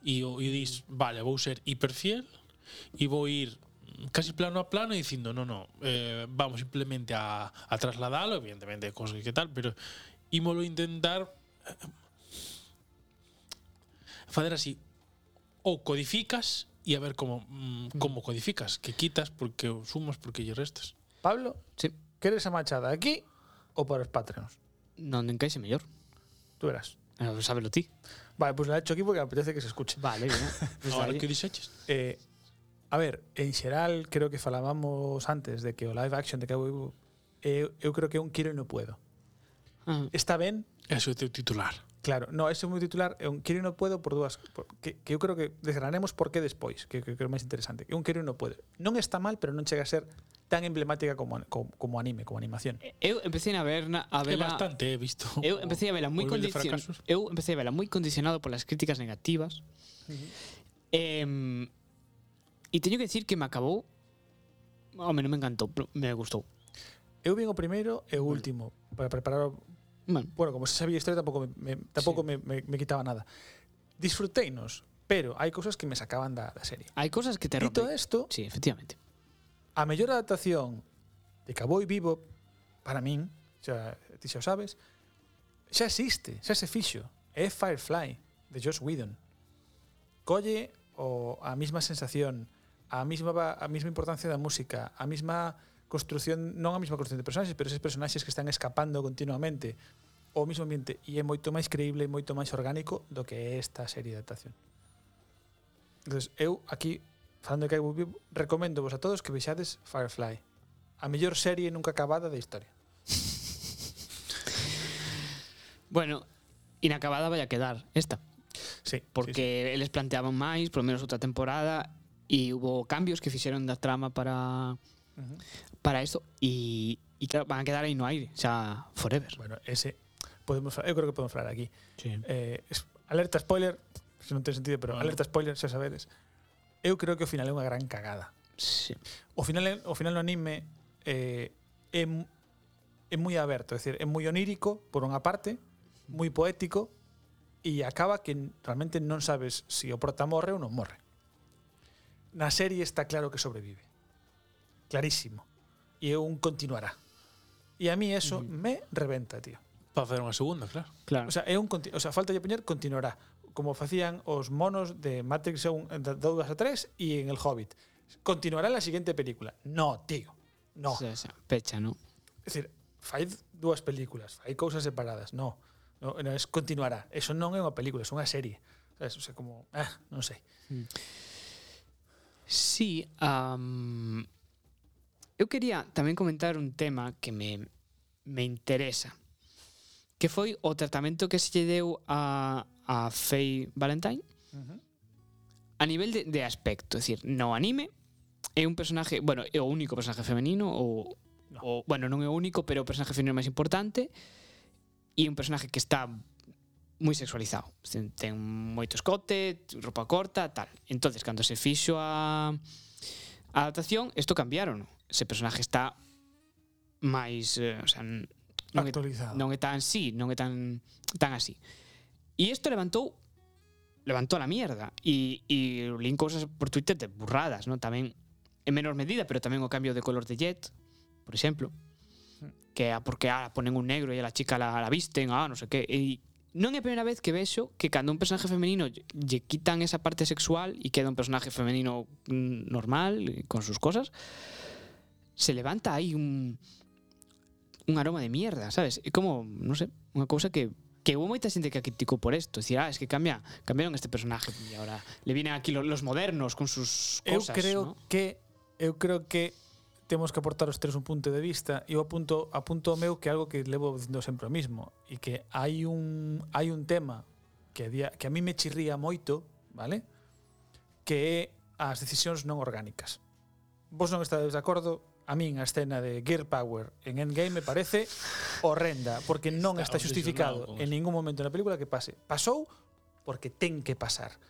e, o- e dis, vale, vou ser hiperfiel e vou ir casi plano a plano e dicindo, no, no, eh, vamos simplemente a, a trasladalo, evidentemente, cosas que tal, pero ímolo intentar eh, fazer así, ou codificas e a ver como mm, como codificas, que quitas porque o sumas porque lle restas.
Pablo,
Sí,
queres a machada aquí Ou para os Patreons?
non encaixe mellor.
Tú verás
Eh, Sábelo ti.
Vale, pues la he hecho aquí porque me apetece que se escuche.
Vale, bien. Pues
Ahora
dalle.
que dixeches?
Eh, a ver, en xeral creo que falábamos antes de que o live action de Cabo Vivo eh, eu creo que é un quero e no puedo.
Ah,
Está ben,
Eso é o teu titular.
claro, no, ese é moi titular, é un quero e no puedo por dúas por, que, que eu creo que desgranaremos por qué despois, que, que, que é o máis interesante. É un quero e no puedo. Non está mal, pero non chega a ser tan emblemática como, como, como anime, como animación.
Eu empecé a verna a
É
verla
bastante, he visto.
Eu empecé a vela moi
O nivel de
condicionado.
fracasos.
Eu empecé a vela moi condicionado polas críticas negativas. Em, e teño que decir que me acabou Home, non me encantou, pero me gustou.
Eu vin o primeiro e o último para preparar o-
Bueno,
bueno, como se sabía a historia tampouco me, me tampouco
Sí.
me, me, me quitaba nada. Disfruteinos, pero hai cousas que me sacaban da, da serie.
hai cousas que te
Dito
rompen.
isto,
Sí, efectivamente.
a mellor adaptación de Cowboy Vivo para min, xa ti xa o sabes, xa existe, xa se fixo. É Firefly de Joss Whedon. Colle o a mesma sensación, a mesma va- a mesma importancia da música, a mesma construción, non a mesma construción de personaxes, pero eses personaxes que están escapando continuamente o mesmo ambiente e é moito máis creíble e moito máis orgánico do que é esta serie de adaptación. Entonces, eu aquí falando de Cowboy Vivo, recomendo vos a todos que vexades Firefly. A mellor serie nunca acabada da historia.
Bueno, inacabada vai a quedar esta,
Sí, sí, sí.
porque sí, sí. eles planteaban máis, polo menos outra temporada, e hubo cambios que fixeron da trama para
Ujú.
para isto e e claro, van a quedar aí no aire, xa forever.
Bueno, ese podemos fa- eu creo que podemos falar aquí.
Sí.
Eh, es- alerta spoiler, se non ten sentido, pero
Bueno.
alerta spoiler, xa sabedes. Eu creo que o final é unha gran cagada.
sí.
O final é- o final no anime eh, é mu- é moi aberto, é dicir, é moi onírico por unha parte, moi poético e acaba que n- realmente non sabes se o prota morre ou non morre. Na serie está claro que sobrevive. Clarísimo. E é un continuará. E a mí eso me reventa, tío.
Para facer unha segunda, claro.
Claro.
O sea, é un conti- o sea, falta de poñer continuará, como facían os monos de Matrix 1, de 2 a 3 e en El Hobbit. Continuará en la siguiente película. No, tío. No.
O sea, o sea, pecha, ¿no?
Es decir, fai dúas películas, fai cousas separadas, no. No, no es continuará. Eso non é unha película, é unha serie. Sabes, o sea, como, ah, non sei.
Sí, am, eu quería tamén comentar un tema que me, me interesa que foi o tratamento que se lle deu a, a Faye Valentine a nivel de, de aspecto, é dicir, no anime é un personaje, bueno, é o único personaje femenino ou,
No.
ou bueno, non é o único, pero é o personaje femenino máis importante e é un personaje que está moi sexualizado. Ten, ten moito escote, roupa corta, tal. Entonces, cando se fixo a a adaptación, isto cambiaron. Ese personaje está máis, eh, o sea, n- non é
Actualizado.
non é tan sí, non é tan tan así. E isto levantou levantou a la mierda e e lin cousas por Twitter de burradas, non? Tamén en menor medida, pero tamén o cambio de color de Jet, por exemplo, que a porque ah, ponen un negro e a la chica la, la visten, ah, non sei que, e non é a primeira vez que vexo que cando un personaje femenino lle- lle quitan esa parte sexual e queda un personaje femenino mm, normal, eh, con sus cosas, se levanta aí un un aroma de mierda, sabes? É como, non sei, unha cousa que que hubo moita xente que a criticou por esto, dicir, ah, es que cambia, cambiaron este personaje e agora le vienen aquí lo- los modernos con sus
Eu
cosas,
creo
¿no?
que eu creo que temos que aportar os tres un punto de vista e eu apunto apunto o meu que é algo que levo dicindo sempre o mismo e que hai un hai un tema que a día, que a mí me chirría moito, vale? Que é as decisións non orgánicas. Vos non estades de acordo? A min a escena de Gear Power en Endgame me parece horrenda, porque non
Está
está
obsesionado
justificado
con
en ningún momento na película que pase. Pasou porque ten que pasar.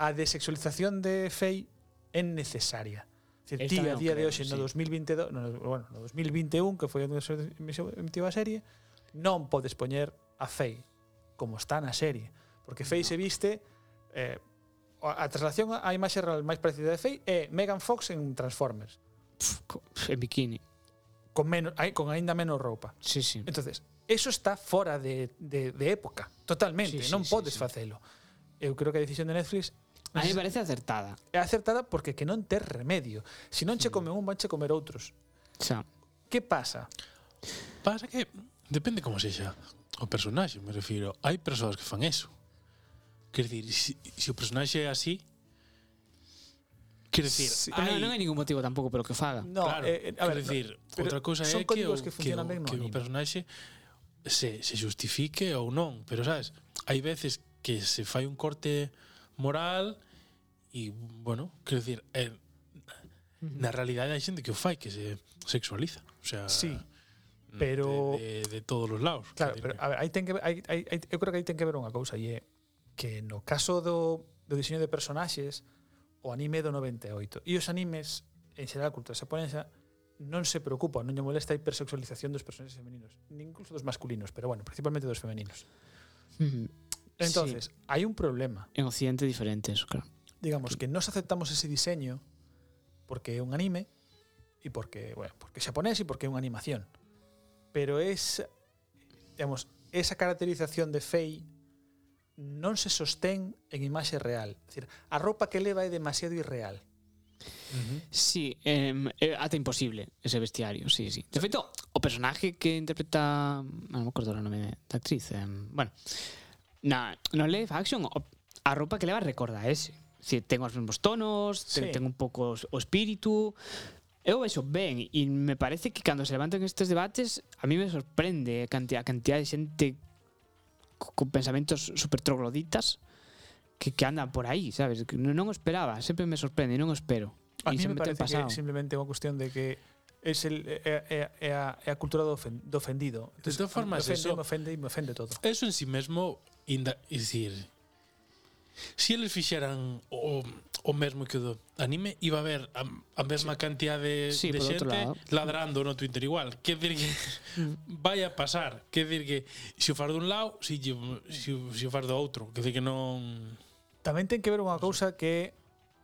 A desexualización de Faye é necesaria. Dicir,
Eu
ti
tamén
a
o
día de
creo,
hoxe no
sí.
2022, no, bueno, no 2021 que foi onde se emitiu a serie, non podes poñer a Faye como está na serie, porque Faye se viste eh, a a traslación á imaxe real máis parecida de Faye é Megan Fox en Transformers,
Co- en bikini.
con menos ai- con aínda menos roupa.
Sí, sí.
Entonces, eso está fora de, de, de época, totalmente,
Sí, sí,
non
sí,
podes
sí.
facelo. Eu creo que a decisión de Netflix
A mí me parece acertada.
é acertada porque que non ter remedio. Se non che comen un, vanche comer outros.
O sea,
Que pasa?
Pasa que depende como sexa o personaxe, me refiro. Hai persoas que fan eso. Quer dicir, se si, si o personaxe é así, quer dicir,
Sí,
pero
hai,
Ah, non, non hai ningún motivo tampouco pelo que faga.
No,
claro,
eh, eh, a
quero
ver,
dicir,
pero
outra cousa
son
é que o,
códigos que
que, o,
funcionan ben no
que
anime.
o personaxe se, se justifique ou non, pero sabes, hai veces que se fai un corte moral e, bueno, quer dicir, eh, na realidade hai xente que o fai que se sexualiza, o sea,
Sí, pero-
de, de, de todos os lados.
Claro,
quer dicir
pero
que-
a ver, aí ten que ver- aí, aí, aí, eu creo que aí ten que ver unha cousa e é que no caso do, do diseño de personaxes o anime do 98 e os animes en xeral a cultura xaponesa non se preocupa, non lle molesta a hipersexualización dos personaxes femeninos, nin incluso dos masculinos, pero bueno, principalmente dos femeninos.
Ujú.
Entonces, sí. hai un problema
En Occidente diferente eso, claro.
digamos que nos aceptamos ese diseño porque é un anime e porque, bueno, porque é xaponés e porque é unha animación. Pero es digamos, esa caracterización de Fei non se sostén en imaxe real. É dicir, a roupa que leva é demasiado irreal.
Sí, em, é ata imposible ese vestiario, sí, sí. De feito, o personaje que interpreta, ah, non me acordo o nome da actriz, em, bueno, na no live action o- a roupa que leva recorda a ese. Si ten os mesmos tonos, ten,
Sí.
ten un pouco os- o espírito. Eu vexo ben e me parece que cando se levantan estes debates a mí me sorprende a cantidad, a cantidad de xente co- con pensamentos super trogloditas que, que andan por aí, sabes? Que non, non o esperaba, sempre me sorprende, non o espero.
A
E
mí me
sempre ten
parece que
pasado.
simplemente é unha cuestión de que é, el, eh, é, é, é, a, é a cultura do, eh, ofen, do ofendido.
De todas formas,
me ofende,
eso-
me ofende e me ofende todo.
Eso en sí mesmo, inda, é dicir, se eles fixeran o, o mesmo que o do anime, iba a haber a, a mesma cantidad de,
Sí,
de
por outro
xente
lado. Mm.
ladrando no Twitter igual. Quer dir que vai a pasar. Quer dir que se o far dun lado, se, lle- se, o- se o far do outro. Quer dir que non...
Tamén ten que ver unha cousa que é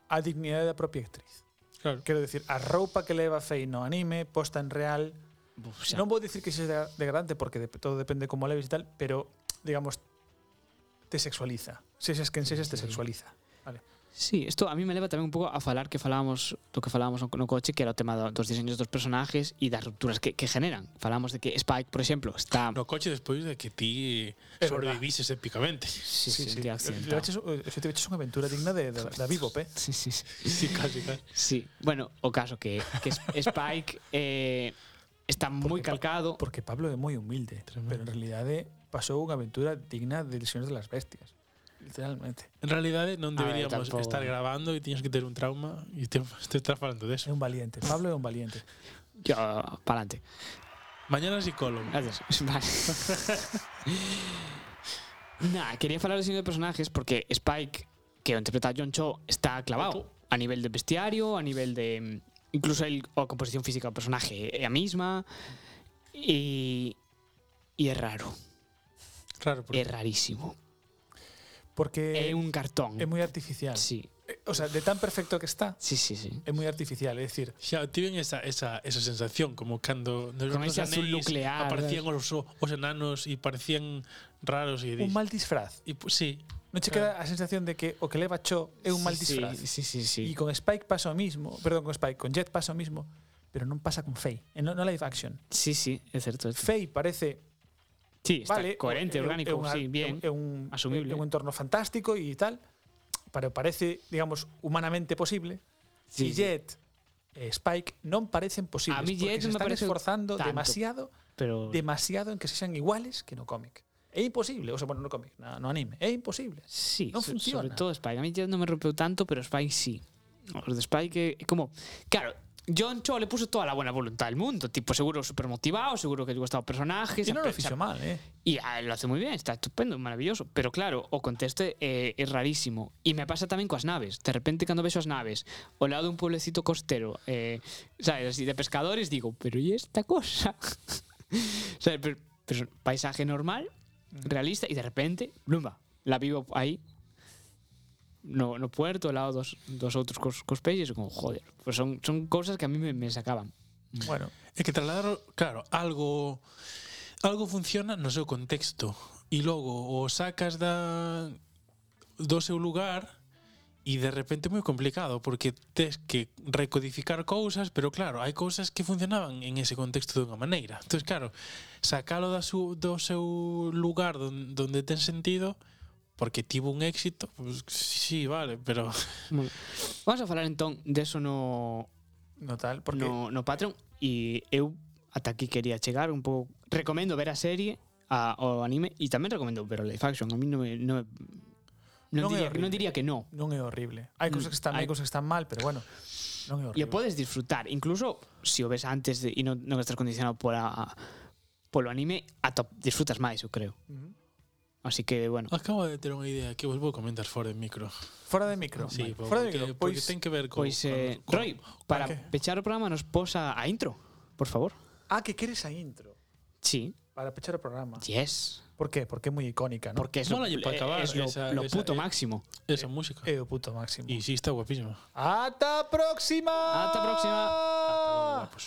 a dignidade da propia actriz.
Claro.
Quero decir, a roupa que leva Fei no anime, posta en real,
Buf, xa.
Non vou dicir que sexa degradante porque de, todo depende como a leves e tal, pero digamos te sexualiza. Sexas quen sexas te sexualiza. Vale.
Sí, isto a mí me leva tamén un pouco a falar que falábamos do que falábamos no, no coche, que era o tema do, dos diseños dos personajes e das rupturas que, que generan. Falamos de que Spike, por exemplo, está
No coche despois de que ti
É
sobrevivises épicamente.
sí, sí, sí, sí, accidentado.
Levaches, eso eh, te veches unha aventura digna de, de, da Bebop, eh?
Sí, sí, sí.
Sí, casi, casi.
Sí, bueno, o caso que, que es- Spike eh, está moi
Porque pa-
calcado.
Porque Pablo é moi humilde, Tremendo. pero en realidade pasou unha aventura digna de Lesiones de las Bestias. Literalmente.
En realidade non
A ver,
deberíamos
tampouco.
estar grabando e tiñas que ter un trauma e te, te estás falando
É
deso.
un valiente. Pablo é un valiente.
Yo, pa'lante.
Mañana psicólogo.
Gracias. Vale. nah, quería falar do diseño de personajes porque Spike, que o interpreta a John Cho, está clavado a nivel de vestiario, a nivel de mm, incluso el, a composición física do personaje eh, é a mesma e e é raro,
Claro, porque
é rarísimo.
Porque
É un cartón.
é moi artificial.
Sí,
Eh, O sea, de tan perfecto que está,
sí, sí, sí.
é moi artificial. É dicir,
xa tiven esa, esa, esa sensación como cando nos
Con
nos
ese azul
anéis
nuclear,
aparecían os, os enanos e parecían raros e
un
dis.
mal disfraz.
E, pu- sí,
Non che queda a sensación de que o que leva Cho é un mal
Sí,
disfraz.
Sí, sí, sí.
E con Spike pasa o mismo, perdón, con Spike, con Jet pasa o mismo, pero non pasa con Faye, en no, no live action.
Sí, sí, é certo. é certo.
Faye parece,
Sí, está
vale,
coherente,
é- é- é
orgánico,
unha-
sí, bien.
É un,
asumible.
É un entorno fantástico e tal, pero parece, digamos, humanamente posible. Sí, e
Sí,
Jet e Spike non parecen posibles,
A mí Jet
porque se
me
están
parece
esforzando
tanto.
demasiado,
pero
demasiado en que sexan iguales que no cómic. É imposible, o sea, bueno, no cómic, no, no anime, é imposible.
sí,
non
so-
funciona.
sobre todo Spike. A mí ya no me rompeu tanto, pero Spike sí. Os de Spike é como, claro, John Cho le puso toda la buena voluntad del mundo, tipo seguro súper motivado, seguro que le gustaba el personaje,
E
se
non lo
ape- se
fixo mal, eh?
Y ah, lo hace muy bien, está estupendo, maravilloso. Pero claro, o contexto eh, es rarísimo. Y me pasa también con las naves. De repente, cuando ves las naves, o lado de un pueblecito costero, eh, ¿sabes? Así de pescadores, digo, pero ¿y esta cosa? ¿Sabes? Pero, pero es un paisaje normal, realista, y de repente, ¡blumba! La vivo ahí. No, no puerto, al lado dos, dos otros cos, cosplayers, y como, joder. Pues son, son cosas que a mí me, me sacaban.
Bueno,
É que trasladar, claro, algo algo funciona no seu contexto e logo o sacas da do seu lugar e de repente é moi complicado porque tes que recodificar cousas, pero claro, hai cousas que funcionaban en ese contexto dunha maneira. Entón, claro, sacalo da su, do seu lugar don- donde ten sentido porque tivo un éxito, pues, sí, vale, pero
Bueno, Vamos a hablar entonces de eso no,
no tal, porque
no, no Patreon e eu ata aquí quería chegar un pouco recomendo ver a serie a, o anime e tamén recomendo ver o live action a mí non me, non, me, non,
Non é
diría,
horrible.
non diría que no
non é horrible. Hai cousas que están,
hai-
hai cousas que están mal, pero bueno, non é
e
horrible.
o podes disfrutar incluso se o ves antes de, e non, non estás condicionado pola polo anime ata disfrutas máis eu creo
Ujú.
así que bueno
acabo de ter unha idea que vos vou comentar fora de micro.
Fora de micro.
Sí,
vale. Fora de micro, pues,
porque, porque
pois
ten que ver con,
pois eh,
con-
Roy para
que?
pechar o programa nos posa a intro por favor
ah, que queres a intro
sí
para pechar o programa.
yes
Por qué? Porque é moi icónica, ¿no?
porque es lo, eh,
Mólalle pa acabar
es lo,
esa-
lo
esa-
puto
eh,
máximo
Esa música.
É o Eh, puto máximo.
Y sí, está guapísima.
Ata próxima.
Ata próxima.
Guapos.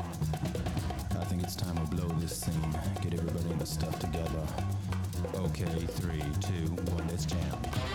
I think it's time to blow this scene. Get everybody in the stuff together. Okay, three, two, one, let's jam.